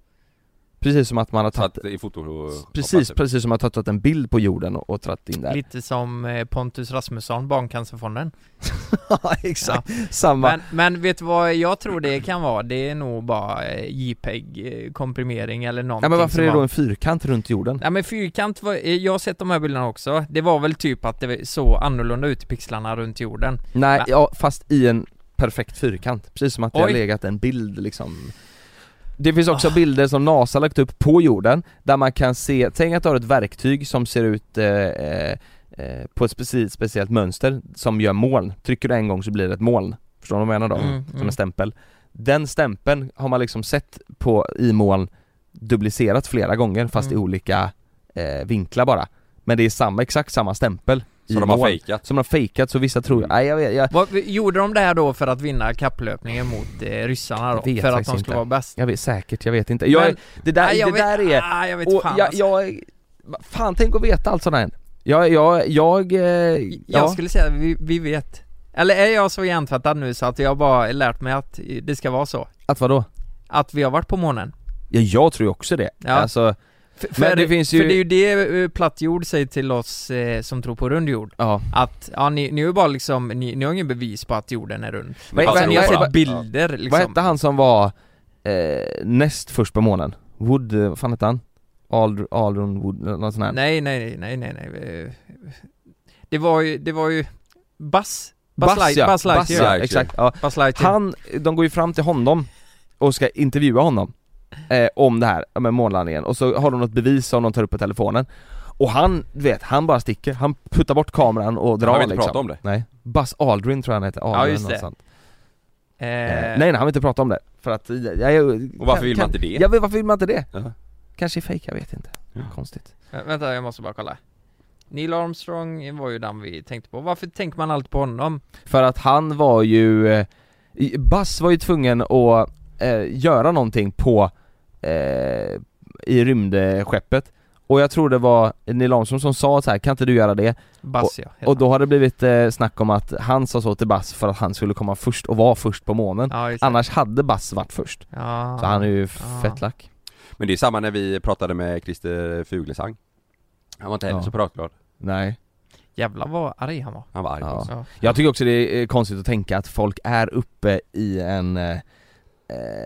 S2: Precis som att man har
S1: så att
S2: tagit,
S1: i foto...
S2: Mm. precis, precis som att man har tagit en bild på jorden och, och tagit in där.
S3: lite som eh, Pontus Rasmusson, Barncancerfonden
S2: ja exakt, samma.
S3: men, men vet du vad jag tror det kan vara? Det är nog bara eh, JPEG eh, komprimering eller någonting
S2: ja, men varför
S3: som
S2: är det
S3: har-
S2: då en fyrkant runt jorden?
S3: Nej men fyrkant, var, eh, jag har sett de här bilderna också Det var väl typ att det såg annorlunda ut i pixlarna runt jorden
S2: Nej,
S3: men-
S2: ja, fast i en perfekt fyrkant. Precis som att det har
S3: Oj.
S2: legat en bild liksom Ah. det finns också bilder som NASA har lagt upp på jorden, där man kan se, tänk att du har ett verktyg som ser ut eh, eh, eh, på ett speciellt, speciellt mönster som gör moln. Trycker du en gång så blir det ett moln. Förstår du vad jag menar då?
S3: Mm,
S2: som
S3: mm.
S2: en stämpel. Den stämpeln har man liksom sett på, i moln duplicerat flera gånger fast
S3: Mm.
S2: i olika eh, vinklar bara. Men det är samma, exakt samma stämpel i
S1: Så de har
S2: moln.
S1: fejkat?
S2: Som de har fejkat så vissa tror,
S3: Mm.
S2: nej jag vet, jag,
S3: Vad, gjorde de det här då för att vinna kapplöpningen mot eh, ryssarna då?
S2: Jag vet
S3: För att
S2: faktiskt
S3: de skulle
S2: inte.
S3: vara bäst?
S2: Jag vet säkert, jag vet inte. Jag,
S3: Men-
S2: är- det där,
S3: Nej, jag
S2: det
S3: vet,
S2: där är...
S3: Ah, jag vet
S2: Och
S3: fan
S2: jag,
S3: alltså.
S2: jag, va- fan tänk att veta allt sånt här. Jag, jag, jag, eh, ja.
S3: Jag skulle säga vi, vi vet Eller är jag så hjärntvättad nu så att jag bara lärt mig att det ska vara så?
S2: Att vadå?
S3: Att vi har varit på månen?
S2: Ja, jag tror ju också det.
S3: Ja.
S2: Alltså,
S3: För,
S2: Men det finns ju-
S3: för det är ju det eh, platt jord säger till oss eh, som tror på rund jord
S2: ja.
S3: Att, ja ni, ni är ju bara liksom, ni, ni har ingen bevis på att jorden är rund
S1: Men
S2: Vad-
S3: Alltså,
S2: vad-
S3: ni har
S2: vad-
S3: sett
S2: vad-
S3: bilder
S2: Vad
S3: liksom
S2: hette han som var eh, näst först på månen? Wood, eh, vad fan hette han? Ald- Aldrin Wood, eller något sånt här.
S3: Nej nej nej nej nej eh, Det var ju, det var ju Bass
S2: Buzz,
S3: Light-
S2: ja.
S3: Buzz Lightyear.
S2: Buzz, ja, exakt. Ja.
S3: Buzz
S1: Typ.
S3: Lightyear
S2: Han, de går ju fram till honom och ska intervjua honom eh, om det här med månlandningen och så har de något bevis som de tar upp på telefonen och han, du vet, han bara sticker, han puttar bort kameran och drar
S1: Han vill inte
S2: liksom.
S1: prata om det.
S2: Nej, Buzz Aldrin tror jag han heter, Aldrin
S3: just det.
S2: något sånt. Eh, nej
S3: Eh,
S2: nej, han vill inte prata om det, för att eh, jag, jag,
S1: Och varför vill man inte det?
S2: Ja, men varför vill man inte det?
S1: Ja.
S2: Kanske är fejk, jag vet inte.
S1: Ja.
S2: Konstigt.
S3: Vä- Vänta, jag måste bara kolla. Neil Armstrong var ju den vi tänkte på. Varför tänker man alltid på honom?
S2: För att han var ju, eh, i- Buzz var ju tvungen att eh, göra någonting på, eh, i rymdskeppet och jag tror det var Neil Armstrong som sa så här, kan inte du göra det?
S3: Bass ja. heter
S2: Och då har det blivit eh, snack om att han sa så till Buzz för att han skulle komma först och vara först på månen
S3: han. Ja, just det.
S2: Annars hade Buzz varit först,
S3: Ja.
S2: så han är ju
S3: Ah.
S2: fett lack
S1: Men det är samma när vi pratade med Christer Fuglesang Han var inte heller
S2: Ja.
S1: så pratglad,
S2: Nej
S3: Jävlar vad arg han var.
S1: han var arg på
S2: Ja.
S1: oss.
S3: Ja.
S2: Jag tycker också det är eh, konstigt att tänka att folk är uppe i en, eh, eh,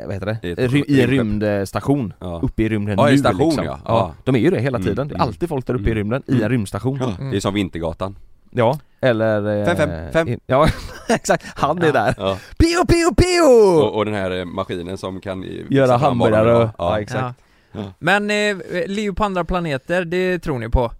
S2: vad heter det?
S1: I ett
S2: Ry- I en
S1: rymdskepp.
S2: rymdstation,
S1: Ja.
S2: uppe i rymden
S1: Ja, i
S2: nu
S1: station,
S2: liksom.
S1: ja. Ja.
S2: ja De är ju det hela
S1: Mm,
S2: tiden, det är
S1: mm.
S2: alltid folk där uppe i
S1: Mm.
S2: rymden, i
S1: Mm.
S2: en rymdstation
S1: Ja, Det är som Vintergatan
S2: Ja, eller... eh,
S1: Fem, fem, fem.
S2: i- Ja, exakt, han är
S3: Ja.
S2: där
S1: ja.
S2: Pio, pio, pio!
S1: och, och den här eh, maskinen som kan eh,
S2: Göra
S1: fixa fram vad de vill
S2: hamburgare och...
S1: ha. ja.
S2: exakt
S1: Ja.
S3: Men eh, liv på andra planeter, det tror ni på?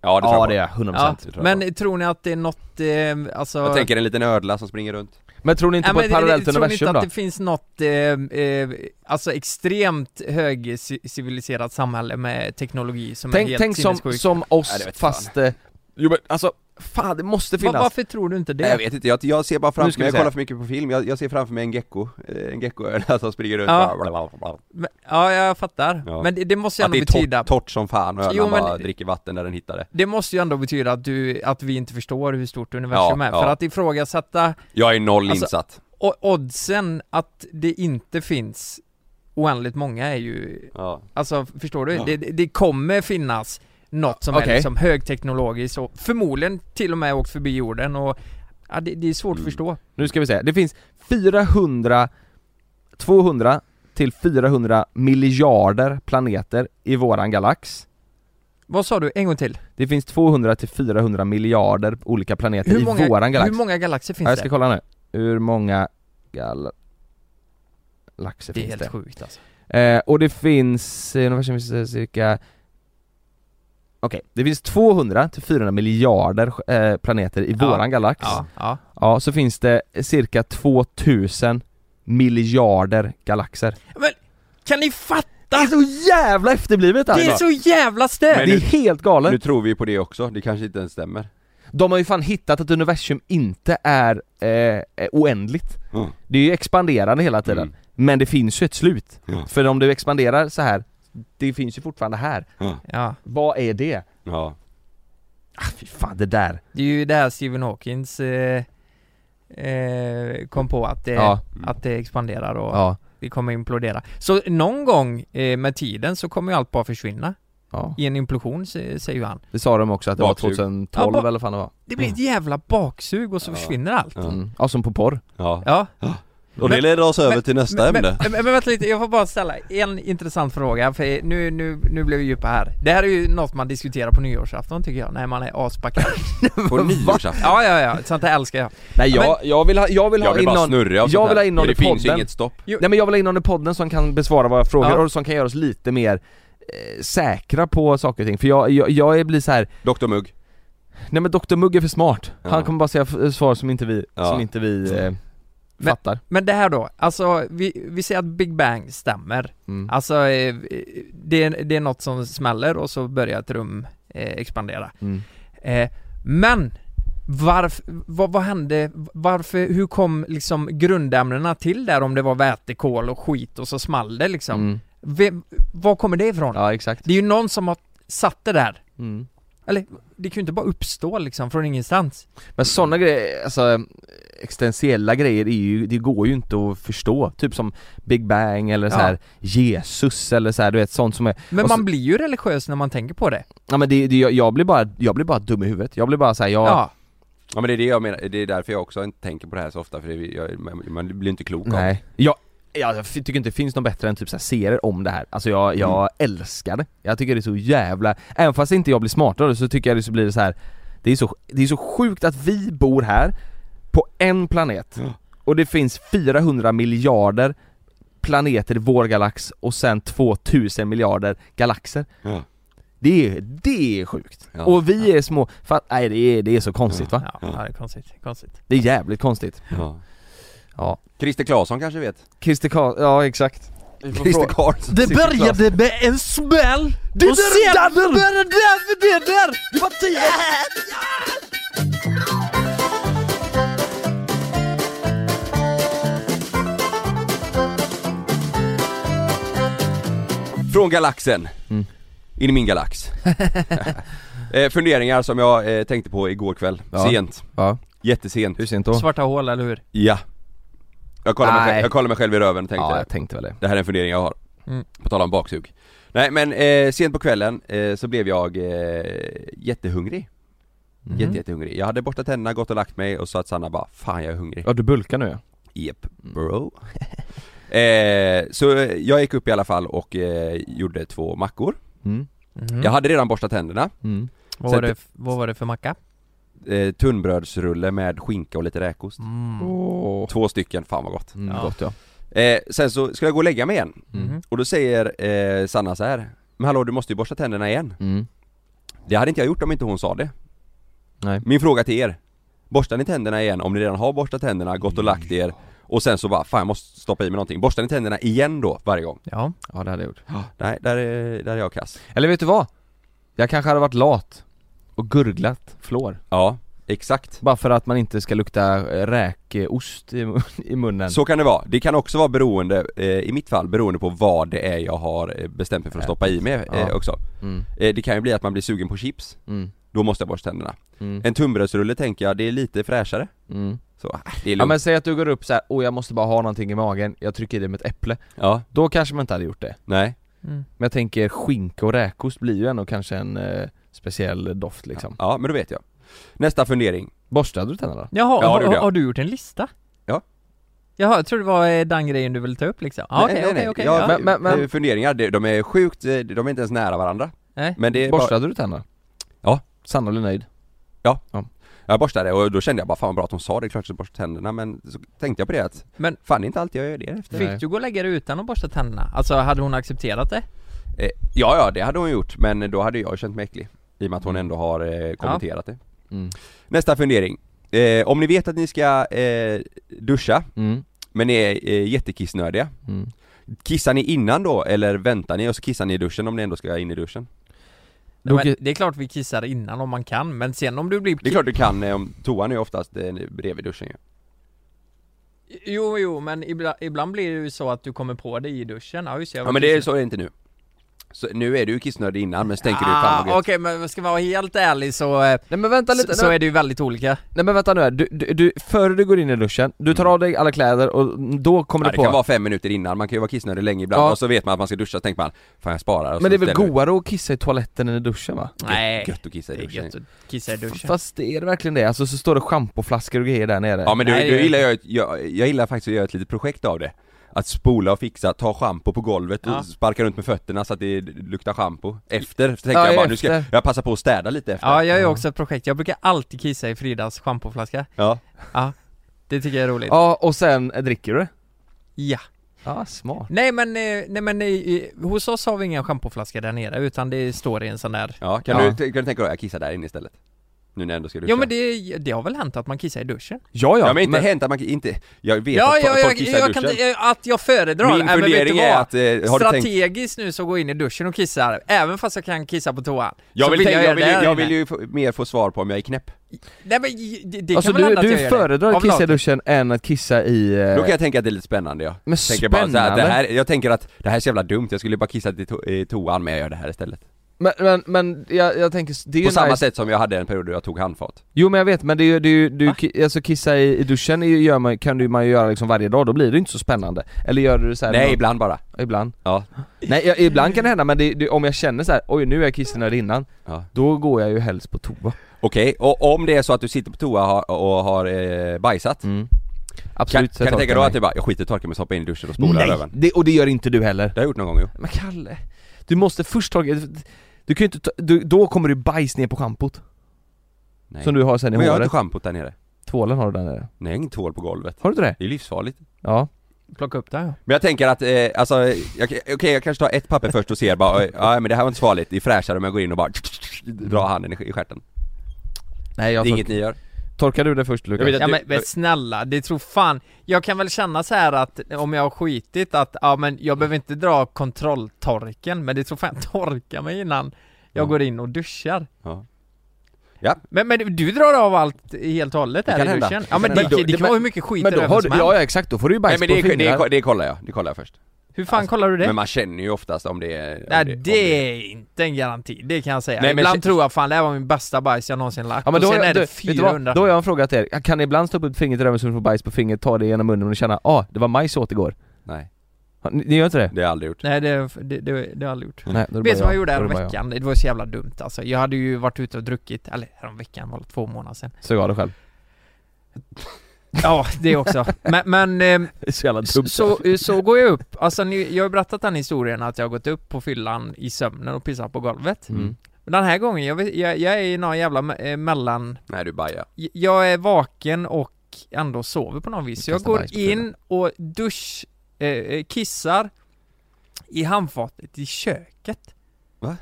S1: ja, det tror
S2: Ja
S1: jag
S2: det
S1: på.
S2: är jag, 100%
S3: Ja.
S1: det tror jag
S3: Men tror ni att det är något, eh, alltså...
S1: Jag tänker en liten ödla som springer runt
S2: Men tror ni inte
S3: Nej,
S2: på
S3: men eh,
S2: ett parallellt
S3: tror ni inte
S2: universum
S3: att
S2: då?
S3: det finns något, eh, eh, alltså extremt högciviliserat samhälle med teknologi som är
S2: Tänk,
S3: helt
S2: tänk som,
S3: sinnessjukt?
S2: som
S1: Nej, det
S2: oss
S1: vet
S2: fast... Eh, jo men alltså, Fan, det måste
S3: Va-
S2: finnas!
S3: varför tror du inte
S1: Nej, jag
S3: det?
S1: vet inte, jag, jag ser bara
S2: Nu
S1: framför
S2: ska
S1: mig,
S2: vi
S1: jag
S2: se.
S1: kollar för mycket på film, jag, jag ser framför mig en gecko, eh, en geckoöra som springer runt
S3: Ja.
S1: bara, bla, bla, bla.
S3: Men, ja, jag fattar.
S1: Ja.
S3: Men det, det måste ju
S1: Att
S3: ändå
S1: det är
S2: typ
S3: betyda...
S1: torrt, torrt som fan och
S3: Jo,
S1: ölan
S3: men-
S1: bara dricker vatten när den hittar det
S3: Det måste ju ändå betyda att du, att vi inte förstår hur stort universum
S1: Ja,
S3: är.
S1: ja.
S3: För att ifrågasätta
S1: Jag är noll
S3: Alltså-
S1: insatt
S3: o- oddsen att det inte finns oändligt många är ju,
S1: ja.
S3: alltså förstår du? Det, det det kommer finnas något som är
S2: Okej.
S3: liksom högteknologiskt och förmodligen till och med åkt förbi jorden och ja, det, det är svårt
S1: Mm.
S3: att förstå.
S2: Nu ska vi se, det finns 400, 200 till 400 miljarder planeter i våran galax
S3: Vad sa du? En gång till?
S2: Det finns 200 till 400 miljarder olika planeter
S3: Hur
S2: i
S3: många-
S2: våran galax
S3: Hur många galaxer finns
S2: ja, Jag ska
S3: det?
S2: kolla nu, hur många gal- galaxer
S3: Det är
S2: finns
S3: helt
S2: det?
S3: sjukt alltså.
S2: Eh, och det finns, eh, i universum finns det cirka Okej, det finns 200 till 400 miljarder eh, planeter i
S3: Ja.
S2: våran galax
S3: Ja, ja.
S2: Ja, så finns det cirka 2000 miljarder galaxer.
S3: Men kan ni fatta?
S2: Det är så jävla efterblivet
S3: Det är
S2: alltså!
S3: så jävla
S2: Det är,
S3: stört!
S1: Men nu-
S2: helt
S1: Nu
S2: galet!
S1: tror vi på det också, det kanske inte ens stämmer
S2: De har ju fan hittat att universum inte är eh, eh, oändligt.
S1: Mm.
S2: Det är ju expanderande hela tiden.
S1: Mm.
S2: Men det finns ju ett slut.
S1: Ja.
S2: För om du expanderar så här, det finns ju fortfarande här.
S3: Ja,
S2: Vad är det?
S1: Ja,
S2: Ah, fy fan, det där.
S3: det är ju det här Stephen Hawkins eh, eh, kom på att det,
S2: Ja.
S3: att det expanderar och
S2: Ja.
S3: det kommer implodera. Så någon gång eh, med tiden så kommer ju allt bara försvinna
S2: ja.
S3: i en implosion, sä- säger ju han.
S2: Det sa de också att det var
S1: Baksug.
S2: 2012
S3: Ja, ba-
S2: eller vad fan det var.
S3: Det blir ett jävla baksug och så
S1: Ja.
S3: försvinner allt.
S1: Ja.
S2: Mm. Ja, som på porr.
S1: ja
S3: Ja,
S1: Och det
S3: Men-
S1: leder oss över
S3: men-
S1: till nästa
S3: men,
S1: ämne
S3: Men, men, men vänta lite, jag får bara ställa en intressant fråga för nu, nu, nu blev vi djupa här. Det här är ju något man diskuterar på nyårsafton tycker jag, när man är aspackad.
S1: På nyårsafton
S3: ja, ja, ja, sånt här älskar jag.
S2: Nej
S3: Ja,
S2: jag, jag vill ha, jag vill ha
S1: Jag vill
S2: in
S1: bara
S2: någon,
S1: snurra av
S2: jag
S1: sånt
S2: vill
S1: här.
S2: ha in någon
S1: Och
S2: i
S1: Det finns
S2: podden.
S1: inget stopp
S2: Nej men jag vill ha in någon i podden som kan besvara våra frågor
S3: Ja.
S2: och som kan göra oss lite mer eh, säkra på saker och ting. För jag, jag, jag blir så här.
S1: Dr Mugg
S2: nej men Dr Mugg är för smart.
S1: Ja.
S2: Han kommer bara säga f- svar som inte vi,
S1: Ja.
S2: som inte vi eh, fattar.
S3: Men det här då, alltså vi, vi säger att Big Bang stämmer.
S2: Mm.
S3: Alltså eh, det, är- det är något som smäller och så börjar ett rum eh, expandera.
S2: Mm.
S3: Eh, men varf, vad, vad hände, varför, hur kom liksom grundämnena till där om det var vätekol och skit och så small det liksom?
S2: Mm.
S3: Vem, var kommer det ifrån?
S2: Ja exakt.
S3: Det är ju någon som har satt det där.
S2: Mm.
S3: Eller det kan ju inte bara uppstå liksom från ingenstans.
S2: Men sådana grejer, alltså eh, existentiella grejer är ju, det går ju inte att förstå. Typ som Big Bang eller så
S3: Ja.
S2: här Jesus eller så här, du vet sånt som är
S3: Men
S2: Och
S3: man
S2: så-
S3: blir ju religiös när man tänker på det.
S2: Ja men det, det jag, jag blir bara, jag blir bara dum i huvudet. Jag blir bara såhär, jag,
S3: Ja.
S1: Ja men det är det jag menar, det är därför jag också inte tänker på det här så ofta för det, jag, man- man blir inte klok av det.
S2: Nej, jag, jag, f- tycker inte det finns någon bättre än typ så här serier om det här. Alltså jag, jag älskar det. Jag tycker det är så jävla, även fast inte jag blir smartare så tycker jag det så blir det så här. Det är så, det är så sjukt att vi bor här på en planet
S1: Ja.
S2: och det finns 400 miljarder planeter i vår galax och sen 2000 miljarder galaxer.
S1: Ja.
S2: Det är, det är sjukt.
S1: Ja.
S2: Och vi är små, fan, nej det är, det är så konstigt va?
S3: Ja, ja, det är konstigt, konstigt.
S2: Det är jävligt konstigt.
S1: Ja.
S2: Ja.
S1: Christer Claesson kanske vet?
S2: Christer Karl, ja exakt.
S1: Christer Karlsson
S4: Det började med en smäll! Det och sedan började det där! Det var tio!
S1: Från galaxen!
S2: Mm.
S1: In i min galax eh, Funderingar som jag eh, tänkte på igår kväll,
S2: Ja.
S1: sent,
S2: Ja,
S1: jättesent
S2: hur sent då?
S3: Svarta hål, eller hur?
S1: Ja jag kollar, mig
S2: Nej.
S1: själv, jag kollar mig själv i röven och tänkte
S2: ja, jag tänkte väl det.
S1: Det här är en fundering jag har.
S3: Mm.
S1: På tal om baksug. Nej men eh, sent på kvällen eh, så blev jag eh, jättehungrig.
S2: Mhm.
S1: Jätte, jättehungrig. Jag hade borstat tänderna, gått och lagt mig och så att Sanna bara 'Fan jag är hungrig'
S2: Ja, du bulkar nu ja.
S1: Yep, bro. eh, så eh, jag gick upp i alla fall och eh, gjorde två mackor.
S2: Mm.
S3: Mhm.
S1: Jag hade redan borstat tänderna.
S2: Mm.
S3: Vad
S1: Så
S3: var,
S1: att-
S3: det, f- vad var det för macka?
S1: Eh, tunnbrödsrulle med skinka och lite räkost.
S3: Mm.
S1: Två stycken, fan vad gott.
S2: Mm,
S3: Ja.
S2: Gott ja. Mm.
S1: Eh, sen så skulle jag gå och lägga mig igen.
S3: Mhm.
S1: Och då säger eh, Sanna så här. Men hallå du måste ju borsta tänderna igen.
S2: Mm.
S1: Det hade inte jag gjort om inte hon sa det.
S2: Nej.
S1: Min fråga till er. Borstar ni tänderna igen om ni redan har borstat tänderna, gått och lagt er och sen så bara, fan jag måste stoppa i mig någonting. Borstar ni tänderna igen då varje gång?
S3: Ja.
S2: Ja det hade jag gjort.
S1: Nej, där är, där är jag kass.
S2: Eller vet du vad? Jag kanske hade varit lat och gurglat flår.
S1: Ja. Exakt.
S2: Bara för att man inte ska lukta eh, räkost i, mun- i munnen
S1: Så kan det vara. Det kan också vara beroende, eh, i mitt fall, beroende på vad det är jag har eh, bestämt mig för att stoppa i mig eh,
S2: Ja.
S1: också.
S2: mm.
S1: Eh, det kan ju bli att man blir sugen på chips,
S2: Mm.
S1: då måste jag borsta tänderna.
S2: Mm.
S1: En tunnbrödsrulle tänker jag, det är lite fräschare.
S2: Mm.
S1: Så, ah, det är
S2: Ja
S1: lugnt.
S2: men säg att du går upp så här, åh jag måste bara ha någonting i magen, jag trycker i det med ett äpple
S1: ja
S2: Då kanske man inte hade gjort det
S1: nej.
S3: Mm.
S2: Men jag tänker skinka och räkost blir ju ändå kanske en eh, speciell doft liksom
S1: Ja, men då vet jag. Nästa fundering.
S2: Borstade du tänderna?
S3: Jaha,
S1: Ja, det
S3: har,
S1: gjorde jag.
S3: har, har du gjort en lista?
S1: Ja.
S3: Jaha, jag tror det var eh, den grejen du ville ta upp liksom. Ja,
S1: Nej,
S3: Okej,
S1: nej,
S3: okej,
S1: nej.
S3: okej.
S1: Ja,
S3: ja.
S2: Men- men- men-
S1: eh, Funderingar, det- de är sjukt, eh, de är inte ens nära varandra.
S3: Nej.
S1: Men det är bara,
S2: Borstade du tänderna?
S1: Ja.
S2: Sanna blev nöjd
S1: jag borstade och då kände jag bara fan vad bra att hon sa det, klart jag ska borsta tänderna men så tänkte jag på det att,
S3: Men-
S1: fan det är inte alltid jag gör det efter.
S2: Nej.
S3: Fick du gå och lägga dig utan att borsta tänderna? Alltså, hade hon accepterat det?
S1: Eh, ja, ja det hade hon gjort men då hade jag känt mig äcklig. I och med att
S3: Mm.
S1: hon ändå har eh, kommenterat det.
S2: mm.
S1: Nästa fundering. Eh, om ni vet att ni ska eh, duscha
S2: Mm.
S1: men är eh, jättekissnödiga,
S2: Mm.
S1: kissar ni innan då eller väntar ni och så kissar ni i duschen om ni ändå ska in i duschen?
S2: Då
S3: men,
S2: ki-
S3: det är klart vi kissar innan om man kan, men sen om du blir...
S1: Det är klart du kan, eh, om toan är oftast eh, bredvid duschen ju.
S3: Jo, jo, men ibland, ibland blir det ju så att du kommer på det i duschen. Ja, just, det, jag
S1: Ja
S3: var
S1: men det är
S3: kissnödig.
S1: så är det inte nu. Så nu är du kissnödig innan men så tänker du fan vad
S3: Ah, Okej,
S1: gött.
S3: men ska man vara helt ärlig så, eh,
S2: Nej men vänta lite,
S3: så, så är det ju väldigt olika.
S2: nej men vänta nu här. Du, du, du, före du går in i duschen, du tar av dig alla kläder och då kommer
S1: Ja,
S2: du
S1: det
S2: på
S1: kan vara fem minuter innan, man kan ju vara kissnödig länge ibland
S2: Ja.
S1: och så vet man att man ska duscha så tänker man Fan jag sparar och
S2: Men det är väl
S1: ställer-
S2: godare att kissa i toaletten än i duschen va?
S3: Nej,
S1: Gött att kissa i
S3: det är
S1: duschen
S3: gött att kissa i duschen.
S2: Fast är det verkligen det? Alltså så står det schampoflaskor och grejer där nere
S1: Ja men du,
S3: Nej, det
S1: du
S3: är-
S1: gillar jag, jag, jag gillar faktiskt att göra ett litet projekt av det Att spola och fixa, ta schampo på golvet och
S3: Ja.
S1: sparka runt med fötterna så att det luktar schampo Efter, så tänker
S2: Ja,
S1: jag bara nu ska
S2: efter.
S1: jag passa på att städa lite efter
S3: Ja, jag är också ett projekt. Jag brukar alltid kissa i Fridas schampoflaska.
S1: Ja.
S3: Det tycker jag är roligt.
S2: Ja och sen eh, dricker du det?
S3: Ja.
S2: Ja smart
S3: Nej men, eh, nej men eh, i- hos oss har vi ingen schampoflaska där nere utan det står i en sån där
S1: Ja, kan,
S2: Ja.
S1: Du, kan du tänka dig att kissa där inne istället? Nu när jag ändå ska duscha
S3: Ja men det, det har väl hänt att man kissar i duschen?
S2: Ja ja,
S1: ja, men inte hänt att man inte, jag vet
S3: Ja,
S1: att
S3: ja,
S1: folk
S3: jag,
S1: kissar i
S3: jag kan,
S1: duschen
S3: eh, att jag föredrar,
S1: Min
S2: Äh,
S3: Nej, men vet du
S1: fundering
S3: vad?
S1: är att, eh, har du tänkt,
S3: Strategiskt nu så går jag in i duschen och kissar, även fast jag kan kissa på toan
S1: jag
S3: Så
S1: vill, tänka,
S3: göra
S1: jag, vill,
S3: det
S1: ju-
S3: här
S1: jag
S3: inne.
S1: vill ju få- mer få svar på om jag är knäpp
S3: Nej men i- det, det
S2: Alltså
S3: kan väl
S2: du,
S3: hända att jag
S2: du
S3: gör det.
S2: föredrar
S3: Av
S2: att kissa i
S3: lathet.
S2: duschen än att kissa i... eh,
S1: Då kan jag tänka att det är lite spännande ja.
S2: Men
S1: Tänker bara så här, att
S2: spännande!
S1: det här, jag tänker att det här är så jävla dumt, jag skulle bara kissa i, to- i toan men jag gör det här istället.
S2: Men, men, men jag, jag tänker, det är
S1: På
S2: ju
S1: samma
S2: nice.
S1: sätt som jag hade en period då jag tog handfat.
S2: Jo men jag vet, men det är ju, det är ju du, ki- alltså kissa i, i duschen är ju, gör man, kan du, man ju göra liksom varje dag, då blir det inte så spännande Eller gör du det så här
S1: Nej,
S2: någon-
S1: ibland bara.
S2: ibland?
S1: Ja.
S2: Nej jag, ibland kan det hända, men det, det, om jag känner så här, oj nu är jag kissnödig innan
S1: Ja.
S2: Då går jag ju helst på toa
S1: Okej, och om det är så att du sitter på toa och har, och har eh, bajsat, kan,
S2: Absolut, Mm. så
S1: kan du
S2: torkar
S1: tänka då
S2: mig.
S1: att du bara, jag skiter i torken men så hoppar jag in i duschen och spolar
S2: Nej!
S1: röven?
S2: Det, och det gör inte du heller
S1: Det har jag gjort någon gång ju.
S2: Men Kalle, du måste först torka, du kan ju inte ta, du, då kommer du bajs ner på schampot
S1: Nej.
S2: Som du har sen i
S1: men jag har
S2: håret,
S1: inte schampot där nere.
S2: tvålen har du där nere
S1: Nej, jag har ingen tvål på golvet.
S2: Har du inte det?
S1: Det är livsfarligt.
S2: Ja
S3: Plocka upp det här.
S1: Men jag tänker att, eh, alltså, eh, jag- okej jag kanske tar ett papper först och ser bara, eh, ja men det här var inte så farligt, det är fräschare om jag går in och bara drar handen i i stjärten.
S2: Nej
S1: Det
S2: jag
S1: är inget ni gör.
S2: torkar du det först Lukas?
S1: Jag vet att
S3: Ja
S1: du-
S3: men, men snälla, det tror fan Jag kan väl känna så här att om jag har skitit att, ja men jag behöver inte dra kontrolltorken Men det tror fan jag torkar mig innan jag
S1: Ja.
S3: går in och duschar
S1: Ja. Ja.
S3: Men, men du drar av allt helt och hållet
S1: Det
S3: där
S1: kan
S3: i
S1: hända.
S3: duschen?
S1: Det
S3: Ja
S1: kan
S3: men det,
S1: hända.
S3: det, kan
S2: Men-
S3: vara hur mycket skit
S2: Men då
S3: i
S2: har
S3: röven
S2: du,
S3: som helst.
S2: ja ja, exakt, då får du ju
S1: Nej
S2: bajs
S1: men det,
S2: på fingrar
S1: det, det kollar jag, det kollar jag först.
S3: Hur fan
S1: Alltså,
S3: kollar du det?
S1: Men man känner ju oftast om det är... om
S3: Nej
S1: om
S3: det är inte en garanti, det kan jag säga.
S1: Nej, men
S3: Ibland
S1: kä-
S3: tror jag fan det här var min bästa bajs jag någonsin lagt,
S2: Ja men
S3: och
S2: då,
S3: sen
S2: är
S3: är
S2: då,
S3: det
S2: vet du vad,
S3: 400
S2: då har jag en fråga till er, kan ni ibland stoppa upp fingret i röven så du får bajs på fingret, ta det genom munnen och känna ah, det var majs jag åt igår?
S1: Nej,
S2: Har- Ni, ni gör inte det?
S1: det har jag aldrig gjort.
S3: Nej det, det, det, det har jag aldrig gjort.
S2: Nej, då är det
S3: Vet du
S2: bara
S3: vad jag gjorde
S2: Då är det bara jag.
S3: häromveckan? Det var så jävla dumt alltså. Jag hade ju varit ute och druckit, eller häromveckan var det två månader sedan.
S2: Sug av det själv,
S3: Ja, det också. Men, men eh,
S2: det är så jävla dumt
S3: så, så går jag upp, alltså ni, jag har ju berättat den historien att jag har gått upp på fyllan i sömnen och pissat på golvet.
S2: Mm.
S3: Men den här gången, jag, vet- jag, jag är i någon jävla me- eh, mellan
S1: Nej du bajar.
S3: J- Jag är vaken och ändå sover på något vis. Så jag
S2: Kastar
S3: går
S2: bajs på
S3: in och dusch, eh, eh, kissar i handfatet i köket.
S2: Jag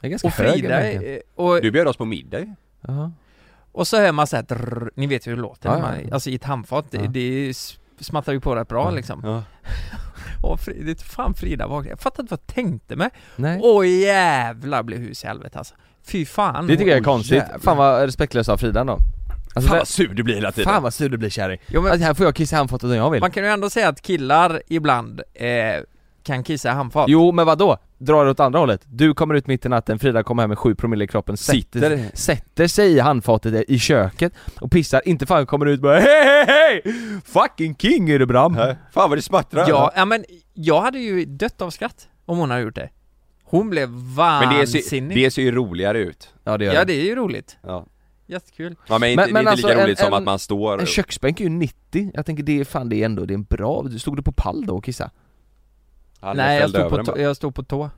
S2: är ganska
S3: Och Frida, eh, och,
S1: Du bjöd oss på middag ju.
S2: Jaha.
S3: och så hör man såhär, drrr, ni vet ju hur det låter,
S2: Ja,
S3: när
S2: ja,
S3: man,
S2: ja.
S3: alltså i ett handfat,
S2: Ja.
S3: det, det s- smattrar ju på rätt bra
S2: Ja.
S3: liksom.
S1: Ja.
S3: Och Frida, det är fan Frida vaknade, jag fattar inte vad jag tänkte med.
S2: Nej.
S3: Åh jävlar blev hus i helvete alltså. Fy fan.
S2: Det tycker jag är
S1: Oj,
S2: konstigt,
S1: jävlar.
S2: fan vad respektlöst av Frida då Alltså,
S1: Fan
S2: där-
S1: vad sur du blir hela tiden!
S2: Fan vad sur du blir kärring!
S3: Jo, men-
S2: Alltså, här får jag kissa i handfatet om jag vill
S3: Man kan ju ändå säga att killar ibland eh, kan kissa i handfat
S2: Jo men vadå? Drar det åt andra hållet? Du kommer ut mitt i natten, Frida kommer hem med 7 promille i kroppen, sätter,
S1: Sitter.
S2: sätter sig i handfatet i köket och pissar, inte fan kommer ut och bara hej hej hej! Fucking king är det Bram!
S1: Nej. Fan vad det smattrar!
S3: Ja, ja men jag hade ju dött av skratt om hon hade gjort det Hon blev
S1: Men det
S3: vansinnig
S1: ser, det ser ju roligare ut.
S2: Ja det gör
S3: Ja
S2: det.
S3: det är ju roligt,
S1: Ja.
S3: jättekul
S1: Ja, men, inte-
S2: Men-
S1: det är
S2: men
S1: inte lika
S2: alltså, en-
S1: roligt som
S2: en-
S1: att man står...
S2: En köksbänk är ju 90, jag tänker det är fan det är ändå, det är en bra, stod du på pall då och kissa?
S1: Han
S3: Nej jag
S1: fällde
S3: stod,
S1: över
S3: på
S1: den
S3: tå,
S1: bara.
S3: jag stod på tå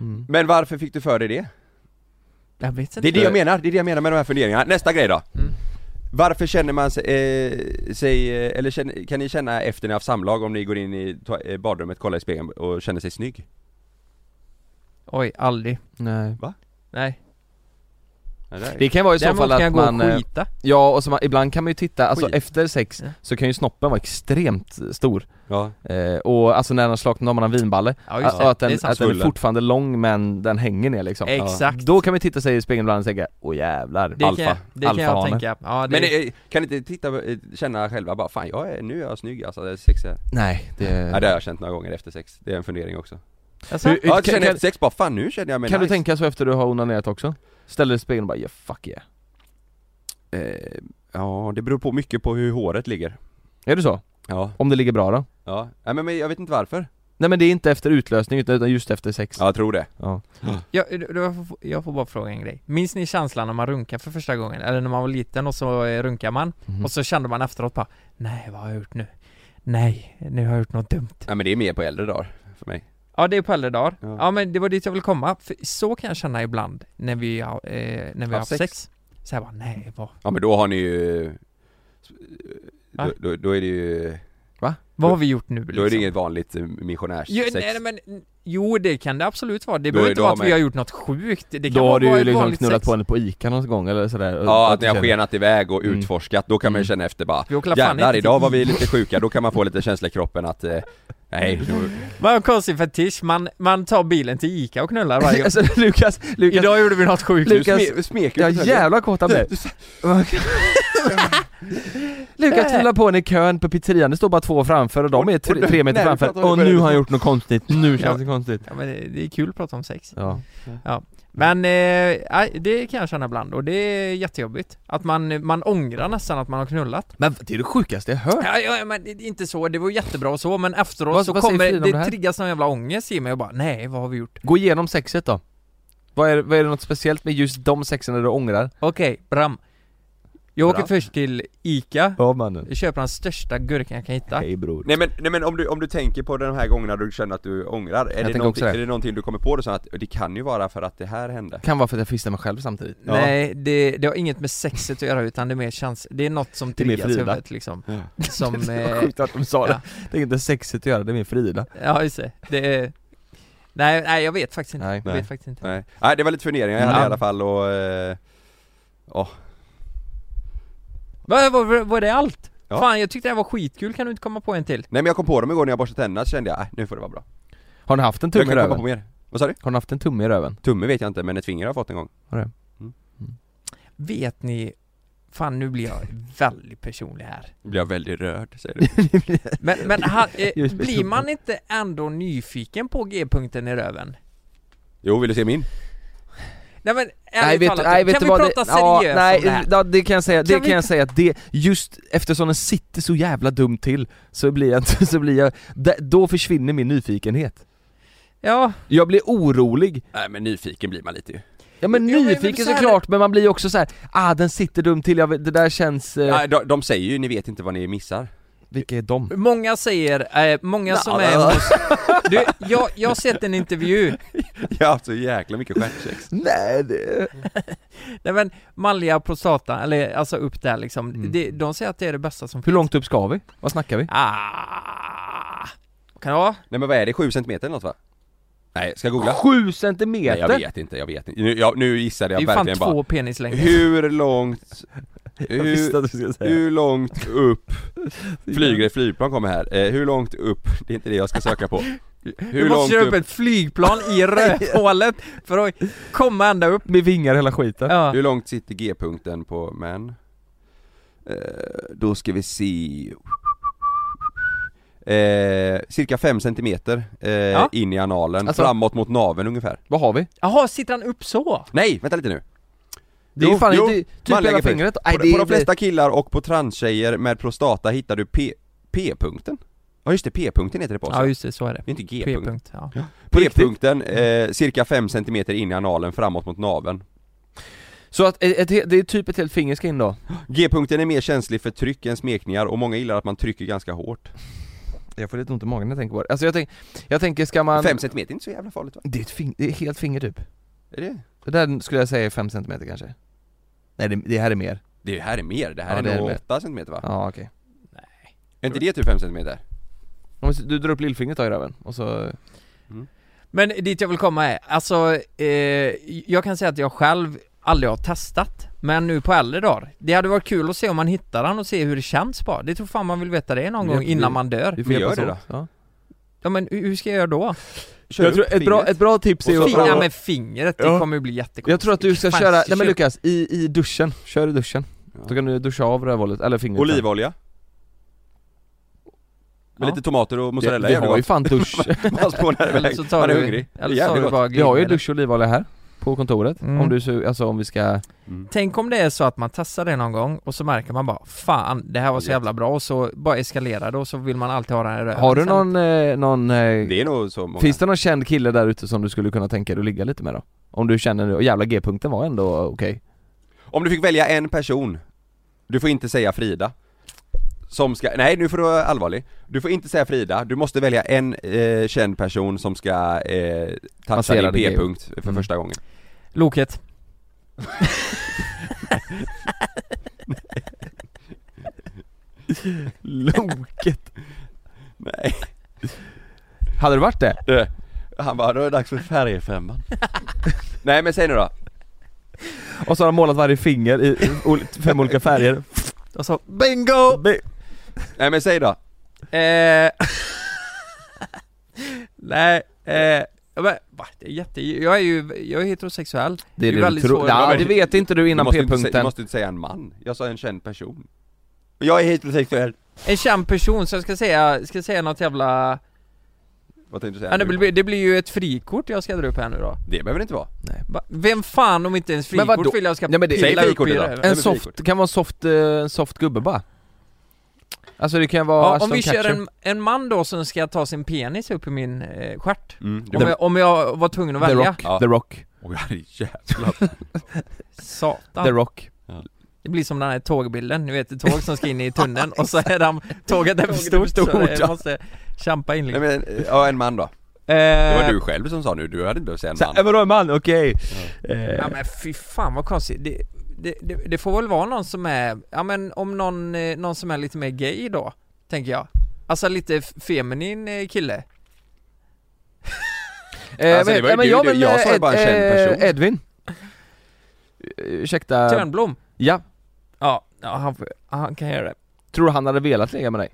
S2: Mm.
S1: Men varför fick du för dig det?
S3: Jag vet inte
S1: Det är det jag menar, det är det jag menar med de här funderingarna. Nästa grej då.
S3: Mm.
S1: Varför känner man sig, eh, sig eh, eller känner, kan ni känna efter ni har haft samlag om ni går in i toa- eh, badrummet, kollar i spegeln och känner sig snygg?
S3: Oj, aldrig,
S2: Nej
S3: nej
S2: Det kan vara i så
S3: Däremot
S2: fall
S3: kan
S2: att
S3: jag gå
S2: man,
S3: och
S2: eh,
S3: skita
S2: ja och så man, ibland kan man ju titta, alltså
S1: Skit.
S2: efter sex
S3: Ja.
S2: så kan ju snoppen vara extremt stor
S1: Ja.
S2: eh, Och alltså när den har slaknat, om man har vinballe,
S3: Ja just det,
S2: och att den,
S3: det är
S2: att
S3: sant
S2: den är
S1: Svullen.
S2: fortfarande lång men den hänger ner liksom
S3: Exakt
S2: Då kan vi titta sig i spegeln ibland och tänka Åh jävlar,
S3: Det
S2: alfa,
S3: kan jag, det kan jag
S2: alfahane."
S3: tänka, ja det
S1: Men eh, kan ni inte titta, eh, känna själva bara fan jag är, nu är jag snygg alltså, det är sex är.
S2: Nej, det...
S1: Ja, det har jag känt några gånger efter sex, det är en fundering också
S3: Alltså,
S2: Hur-
S1: Ja, jag
S2: kan-
S1: känner
S2: kan-
S1: efter sex bara fan nu känner jag mig
S2: Kan
S1: nice.
S2: du tänka så efter du har onanerat också? Ställer dig i spegeln och bara yeah, fuck yeah
S1: Eh, ja, det beror på mycket på hur håret ligger
S2: Är det så?
S1: Ja,
S2: Om det ligger bra då?
S1: ja, Nej, men, men jag vet inte varför
S2: Nej men det är inte efter utlösning utan utan just efter sex
S1: Ja, jag tror det
S2: Ja.
S3: jag, jag, får, jag får bara fråga en grej Minns ni känslan när man runkar för första gången? Eller när man var liten och så eh, runkar man
S2: Mhm.
S3: Och så kände man efteråt bara Nej, vad har jag gjort nu? Nej, nu har jag gjort något dumt
S1: Nej men det är mer på äldre dagar för mig
S3: Ja det är på äldre dagar. Ja.
S1: Ja.
S3: men det var dit jag ville komma, för så kan jag känna ibland när vi har, eh, när vi har
S1: Har
S3: haft sex.
S1: sex.
S3: Så jag bara, nej vad,
S1: Ja men då har ni ju
S3: Va?
S1: då, då, då är det ju,
S3: vad har vi gjort nu Liksom.
S1: då är det inget vanligt eh, missionärssex
S3: jo, nej, men, jo det kan det absolut vara, det
S1: Då-
S3: behöver inte
S1: då
S3: vara
S1: har
S3: att
S1: man-
S3: vi har gjort något sjukt, det kan
S2: E. Då
S3: vara
S2: har du
S3: bara
S2: ju
S3: ett
S2: liksom
S3: vanligt
S2: knullat
S3: sex.
S2: på henne på Ica någon gång eller sådär
S1: Ja, att ni har
S2: känner-
S1: skenat iväg och
S2: Mm.
S1: utforskat, då kan man
S2: Mm.
S1: ju känna efter bara
S3: Vi åker fan
S1: Jävlar,
S3: inte till
S1: idag var vi lite sjuka, då kan man få lite känsla i kroppen att eh, Nej, då,
S3: Vad en konstig fetisch, man, man tar bilen till Ica och knullar varje gång.
S2: Alltså Lukas, Lukas,
S3: Idag gjorde vi något sjukt.
S2: Lukas-
S1: du sme, smeker
S2: jag
S1: ut
S2: är
S1: det.
S2: jävla kåt han blev Lukas knullar på henne i kön på pizzerian, det står bara två framför och de är tre, tre meter
S1: Nej,
S2: framför
S1: pratar om det
S2: och
S1: på
S2: nu
S1: det.
S2: har han gjort något konstigt, nu
S3: Ja.
S2: känns det konstigt
S3: Ja, men det, det är kul att prata om sex.
S2: Ja,
S3: Men eh, nej, det kan jag känna ibland och det är jättejobbigt. Att man, man ångrar nästan att man har knullat.
S2: Men det är det sjukaste jag hört!
S3: Ja, ja, men det är inte så, det var jättebra och så, men efteråt
S2: Vad-
S3: så
S2: vad säger
S3: kommer
S2: Frida
S3: det,
S2: om det här?
S3: triggas någon jävla ångest i mig och bara nej, vad har vi gjort?
S2: Gå igenom sexet då vad är, vad är det något speciellt med just de sexen där du ångrar?
S3: Okej, Bram. Jag åker
S1: Bram.
S3: först till Ica,
S2: Ja mannen
S3: jag köper den största gurkan jag kan hitta.
S2: Hej bror
S1: Nej men, nej, men om, du, om du tänker på de här gångerna du känner att du ångrar, är, det
S2: tänker
S1: någonting,
S2: också det.
S1: är det någonting du kommer på då så att det kan ju vara för att det här hände?
S2: Kan vara för att jag fistar mig själv samtidigt
S1: Ja.
S3: Nej, det, det har inget med sexet att göra utan det är mer chans, det är något som
S2: Det är mer
S3: triggas i
S2: Frida.
S3: huvudet liksom.
S1: Ja.
S3: Som,
S2: Det var
S3: eh,
S2: sjukt att de sa det, det är inte sexigt att göra, det är min Frida
S3: ja just det, det är, nej, nej jag vet faktiskt inte.
S2: Nej.
S3: Jag
S1: Nej.
S3: vet faktiskt inte.
S1: Nej. nej, det var lite funderingar jag hade
S2: Mm.
S3: Ja.
S1: i alla fall och... Eh, åh.
S3: Var, var, var det allt?
S1: Ja.
S3: Fan jag tyckte det här var skitkul, kan du inte komma på en till?
S1: Nej men jag kom på dem igår när jag borstade tänderna så kände jag, äh, nu får det vara bra
S2: Har ni haft en
S1: Jag
S2: tumme
S1: kan
S2: i
S1: komma
S2: röven?
S1: på mer Vad sa du?
S2: Har ni haft en tumme i röven?
S1: Tumme vet jag inte men ett finger har jag fått en gång
S3: Vet ni, fan nu blir jag väldigt personlig här.
S1: Nu blir jag väldigt rörd säger du
S3: Men, men han, eh,
S2: Just det.
S3: blir man inte ändå nyfiken på G-punkten i röven?
S1: Jo, vill du se min?
S3: Nej men
S2: Nej
S3: ärligt
S2: vet,
S3: talat,
S2: nej, vet
S3: kan
S2: du
S3: vi
S2: vad
S3: prata
S2: det, ja,
S3: seriöst
S2: nej,
S3: om det här?
S2: ja, det kan jag säga, det
S3: Kan
S2: kan,
S3: vi
S2: jag säga att det, just eftersom den sitter så jävla dumt till så blir jag inte, så blir jag, d- då försvinner min nyfikenhet
S3: Ja,
S2: Jag blir orolig,
S1: Nej men nyfiken blir man lite ju
S2: ja men
S3: Jo, men- men
S2: nyfiken
S3: så här-
S2: såklart men man blir ju också så här. ah den sitter dumt till, jag vet, det där känns, eh,
S1: Nej, de, de säger ju, ni vet inte vad ni missar
S2: vilka är de?
S3: många säger, eh, många som är hos... Du, jag, jag har sett en intervju,
S1: Jag har haft så jäkla mycket stjärtsex
S2: Nej det...
S3: nej men manliga prostata, eller alltså upp där liksom,
S2: Mm.
S3: det, de säger att det är det bästa som
S2: Hur långt upp ska vi? Vad snackar vi?
S3: Ah, kan det vara?
S1: Nej men vad är det, 7 centimeter eller något va? Nej, ska jag googla?
S2: Sju centimeter!
S1: Nej, jag vet inte, jag vet inte. Nu, jag, nu gissade
S3: Det är
S1: jag
S3: ju fan
S1: verkligen
S3: två
S1: bara.
S3: penislängder
S1: Hur långt...
S2: Jag
S1: Hur,
S2: visste att du skulle säga
S1: hur långt upp flyger ett flygplan kommer här? Eh, hur långt upp? Det är inte det jag ska söka på.
S3: Du
S1: Hur
S3: måste
S1: långt
S3: köra upp
S1: upp,
S3: ett flygplan i rövhålet för att komma ända upp
S2: Med vingar hela skiten
S3: ja.
S1: hur långt sitter G-punkten på män? Eh, då ska vi se... Eh, cirka 5 centimeter eh,
S3: Ja.
S1: in i analen,
S2: Alltså-
S1: framåt mot naveln ungefär.
S2: Vad har vi?
S3: Jaha, sitter han upp så?
S1: Nej, vänta lite nu!
S2: Det är ju
S1: Jo,
S2: fan
S1: jo,
S2: inte typ
S1: man lägger
S2: hela
S1: på-
S2: fingret.
S1: På,
S2: Nej,
S1: de-
S2: det
S1: på
S2: är-
S1: de flesta killar och på transtjejer med prostata hittar du P- p-punkten. Ja just det, p-punkten heter det på oss.
S3: Ja just det, så är det.
S1: det är inte g-punkten.
S3: P-punkt, ja.
S2: På riktigt?
S1: P-punkten, eh, cirka 5 centimeter in i analen framåt mot naveln.
S2: Så att ett, ett, det är typ ett helt finger ska in då?
S1: G-punkten är mer känslig för tryck än smekningar och många gillar att man trycker ganska hårt.
S2: Jag får lite ont i magen när jag tänker på det. Alltså jag, tänk, jag tänker, ska man...
S1: 5 centimeter är inte så jävla farligt va?
S2: Det är ett fing, det är ett helt finger typ.
S1: Är det?
S2: Det där skulle jag säga är 5 cm kanske. Nej det, det här är mer.
S1: Det här är mer, det här
S2: Ja, det är
S1: är nog
S2: mer.
S1: 8 centimeter va?
S2: Ja okej.
S1: Är inte det typ 5 centimeter?
S2: Om Du drar upp lillfingret då i röven och så...
S3: Men dit jag vill komma är, alltså, eh, jag kan säga att jag själv aldrig har testat Men nu på äldre dagar Det hade varit kul att se om man hittar han och se hur det känns bara Det tror fan man vill veta det någon
S2: Vi-
S3: gång innan
S2: vi-
S3: man dör
S1: får hjälpas åt.
S2: Ja.
S3: Ja men hur hur ska jag göra då?
S1: Kör
S2: Jag tror
S1: upp
S2: ett, bra,
S1: fingret.
S2: ett bra tips är
S1: Och så-
S3: Fingrar
S2: att...
S3: med fingret, det
S2: Ja.
S3: kommer ju bli jättekonstigt
S2: Jag tror att du ska
S3: Fan,
S2: köra, nej men
S3: kör-
S2: Lukas, i, i duschen. Kör i duschen.
S1: Ja.
S2: Då kan du duscha av rövhålet, eller fingret.
S1: Olivolja? Med
S3: Ja.
S1: lite tomater och
S2: Vi,
S1: mozzarella
S2: vi har ju fan dusch.
S1: Man spånar
S3: Eller
S1: iväg,
S3: så tar
S1: man är
S3: du,
S1: hungrig.
S3: eller
S1: Det är
S3: så tar
S1: jävligt
S3: du
S1: gott.
S3: bara
S2: Vi har ju
S3: glidmedel.
S2: dusch och olivolja här. På kontoret.
S3: Mm.
S2: Om du så, alltså om vi ska...
S3: Tänk om det är så att man testar det någon gång och så märker man bara Fan, det här var så
S1: Jätte-
S3: jävla bra och så bara eskalerar det och så vill man alltid ha den här röven
S2: Har du
S3: sen.
S2: någon, eh, någon eh,
S1: Det är nog så många.
S2: Finns det någon känd kille där ute som du skulle kunna tänka dig att ligga lite med då? Om du känner nu, och jävla G-punkten var ändå okej
S1: Om du fick välja en person, du får inte säga Frida. Som ska, nej nu får du vara allvarlig. Du får inte säga Frida, du måste välja en eh, känd person som ska eh, toucha
S2: Passera
S1: din
S2: dig.
S1: p-punkt för
S2: Mm.
S1: första gången.
S3: Loket
S2: Loket!
S1: Nej.
S2: Hade det varit det?
S1: Han bara, då är det dags för färgfemman. nej men säg nu då.
S2: Och så har de målat varje finger i ol- fem olika färger
S3: Och så bingo!
S1: Nej men säg då.
S3: Eh, Nej, eh, ja, men, va, det är jätte, jag är ju, jag är heterosexuell
S2: Det är
S3: ju
S2: det, du
S3: väldigt
S2: tror,
S3: svårt.
S2: ja,
S1: Ja,
S2: det
S1: men-
S2: vet inte du
S1: Du
S2: innan
S1: måste, inte säga, du
S2: p-punkten
S1: måste inte säga en man. Jag sa en känd person. Jag är heterosexuell.
S3: En känd person, så jag ska säga, ska säga något jävla...
S1: Vad tänkte du säga?
S3: Ja, det,
S1: nu?
S3: blir, det blir ju ett frikort jag ska dra upp här nu då
S1: det behöver det inte vara.
S3: Va, Vem fan om inte ens
S2: Men vadå?
S3: frikort vill jag ska
S2: Ja, men det-
S3: pilla
S1: Säg
S3: upp i
S1: frikortet då.
S3: röven?
S2: En
S1: men
S2: soft,
S1: frikort.
S2: kan vara en soft, eh, en soft gubbe bara Alltså det kan vara
S3: Ja, om
S2: Ashton
S3: vi kör
S2: Kutcher.
S3: en, en man då som ska ta sin penis upp i min eh, stjärt
S1: Mm, du,
S3: om jag, om jag var tvungen att
S2: The
S3: välja
S2: Rock,
S1: Ja.
S2: The Rock,
S1: Oj, jävlar.
S3: Satan
S2: The Rock
S3: Det blir som den här tågbilden, ni vet ett tåg som ska in i tunneln och så är de, tåget är för
S2: Tåget är
S3: stort
S2: för
S3: så
S2: stort,
S3: det
S2: ja.
S3: måste kämpa in
S1: Nej
S3: liksom.
S1: men, eh, ja en man då. Det var
S2: Eh,
S1: du själv som sa nu, du hade inte behövt säga en
S2: så-
S1: man.
S2: eh, Vadå en man? Okej! Eh,
S1: Alltså,
S3: Ja men fy fan vad konstigt, det, det, det, det får väl vara någon som är, ja men om någon, eh, någon som är lite mer gay då, tänker jag Alltså lite f- feminin eh, kille
S2: Eh,
S1: Alltså, det var ju
S2: eh,
S1: du- du-
S2: men,
S1: jag sa ju
S2: eh,
S1: bara en känd
S2: eh,
S1: person.
S2: Edvin Eh, Ursäkta,
S3: Törnblom?
S2: ja,
S3: Ja, ja han, får- han kan göra det
S2: tror du han hade velat ligga med dig?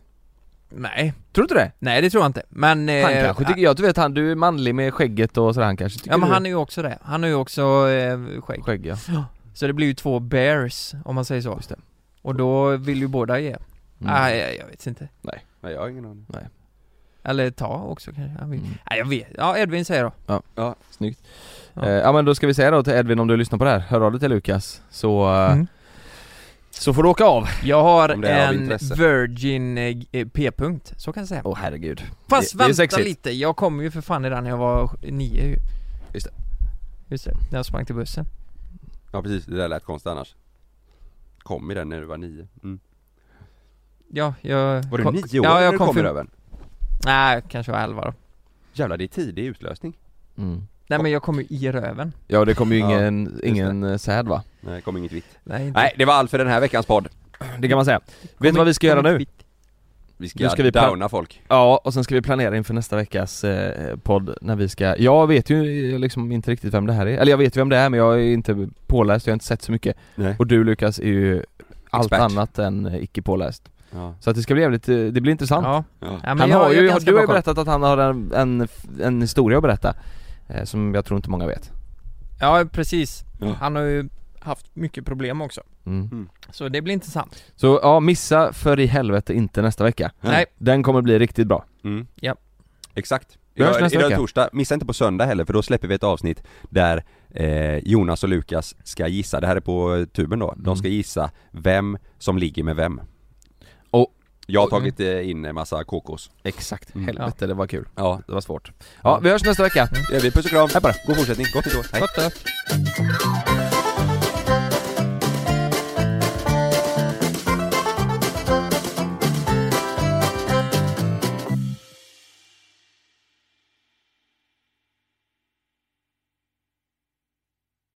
S3: Nej,
S2: Tror du inte det?
S3: nej det tror jag inte, men eh,
S2: Han kanske tycker, jag, du vet han, du är manlig med skägget och sådär, han kanske tycker
S3: Ja men
S2: du
S3: han är ju också det, han har ju också eh, skägg
S2: är skägg ja. Mm.
S3: Så det blir ju två bears, om man säger så
S2: Just det.
S3: Och då vill ju båda ge
S2: Mm.
S3: Nej, jag, jag vet inte.
S1: Nej jag har ingen aning.
S3: Eller ta också kanske. Jag vet.
S2: Mm.
S3: Nej, jag vet. Ja, Edvin säger då.
S2: Snyggt.
S3: Ja.
S2: Eh, ja men då ska vi säga då till Edvin om du lyssnar på det här, hör av dig till Lukas så, eh,
S3: Mm.
S2: så får du åka av.
S3: Jag har
S1: Om det är av
S3: en
S1: intresse.
S3: virgin eh, g- p-punkt, så kan jag säga.
S2: Åh herregud.
S3: Fast
S2: det- det är
S3: vänta
S2: sexigt.
S3: lite, jag kom ju för fan i den när jag var nio ju.
S2: Just det.
S3: Just det, när jag sprang till bussen.
S1: Ja precis, det där lät konstigt annars. Kom i den när du var nio. Mm.
S3: Ja, jag...
S1: Var du
S3: kom-
S1: nio år
S3: Ja,
S1: när
S3: jag
S1: du
S3: kom
S1: kom i
S3: för...
S1: röven?
S3: Nej, kanske var elva då.
S1: Jävlar det är tidig utlösning.
S2: Mm.
S3: Nej men jag kom ju i röven.
S2: Ja det kommer ju
S1: Ja,
S2: ingen, ingen eh, säd va?
S1: Nej, det kom inget vitt.
S3: Nej, inte.
S1: Nej, det var allt för den här veckans podd.
S3: Mm.
S2: Det kan man säga.
S3: Kom
S2: vet du
S3: in-
S2: vad vi ska
S3: kom
S2: göra
S3: inte
S2: nu?
S3: vitt.
S1: Vi
S2: Nu
S1: ska,
S2: ska vi plan-
S1: downa folk.
S2: Ja, och sen ska vi planera inför nästa veckas eh, podd när vi ska, jag vet ju eh, liksom inte riktigt vem det här är, eller jag vet ju vem det är men jag är inte påläst, jag har inte sett så mycket
S1: Nej.
S2: Och du Lukas är ju allt
S1: Expert.
S2: annat än eh, icke påläst
S1: Ja.
S2: Så att det ska bli jävligt, eh, det blir intressant
S3: Ja.
S1: Ja.
S3: ja men
S2: Han
S3: jag,
S2: har
S3: jag är
S2: ju,
S3: ganska
S2: du har ju
S3: bakom.
S2: berättat att han har en, en, en historia att berätta eh, Som jag tror inte många vet
S3: Ja, precis.
S1: Ja.
S3: Han har ju, haft mycket problem också.
S2: Mm.
S3: Så det blir intressant.
S2: Så ja, missa för i helvete inte nästa vecka.
S3: Nej.
S2: Den kommer bli riktigt bra.
S1: Mm.
S3: Ja.
S1: Exakt.
S2: Vi hörs
S1: Idag,
S2: nästa
S1: idag är
S2: vecka.
S1: torsdag, missa inte på söndag heller för då släpper vi ett avsnitt där eh, Jonas och Lukas ska gissa, det här är på eh, tuben då, de
S2: Mm.
S1: ska gissa vem som ligger med vem.
S2: Och-
S1: Jag har tagit eh, in en massa kokos.
S2: Exakt,
S1: Mm.
S2: helvete det var kul.
S1: Ja,
S2: Det var svårt. Ja, Mm. vi hörs nästa vecka.
S1: det gör vi. Puss och kram. God fortsättning, gott nytt år. Hej.
S2: Gott då.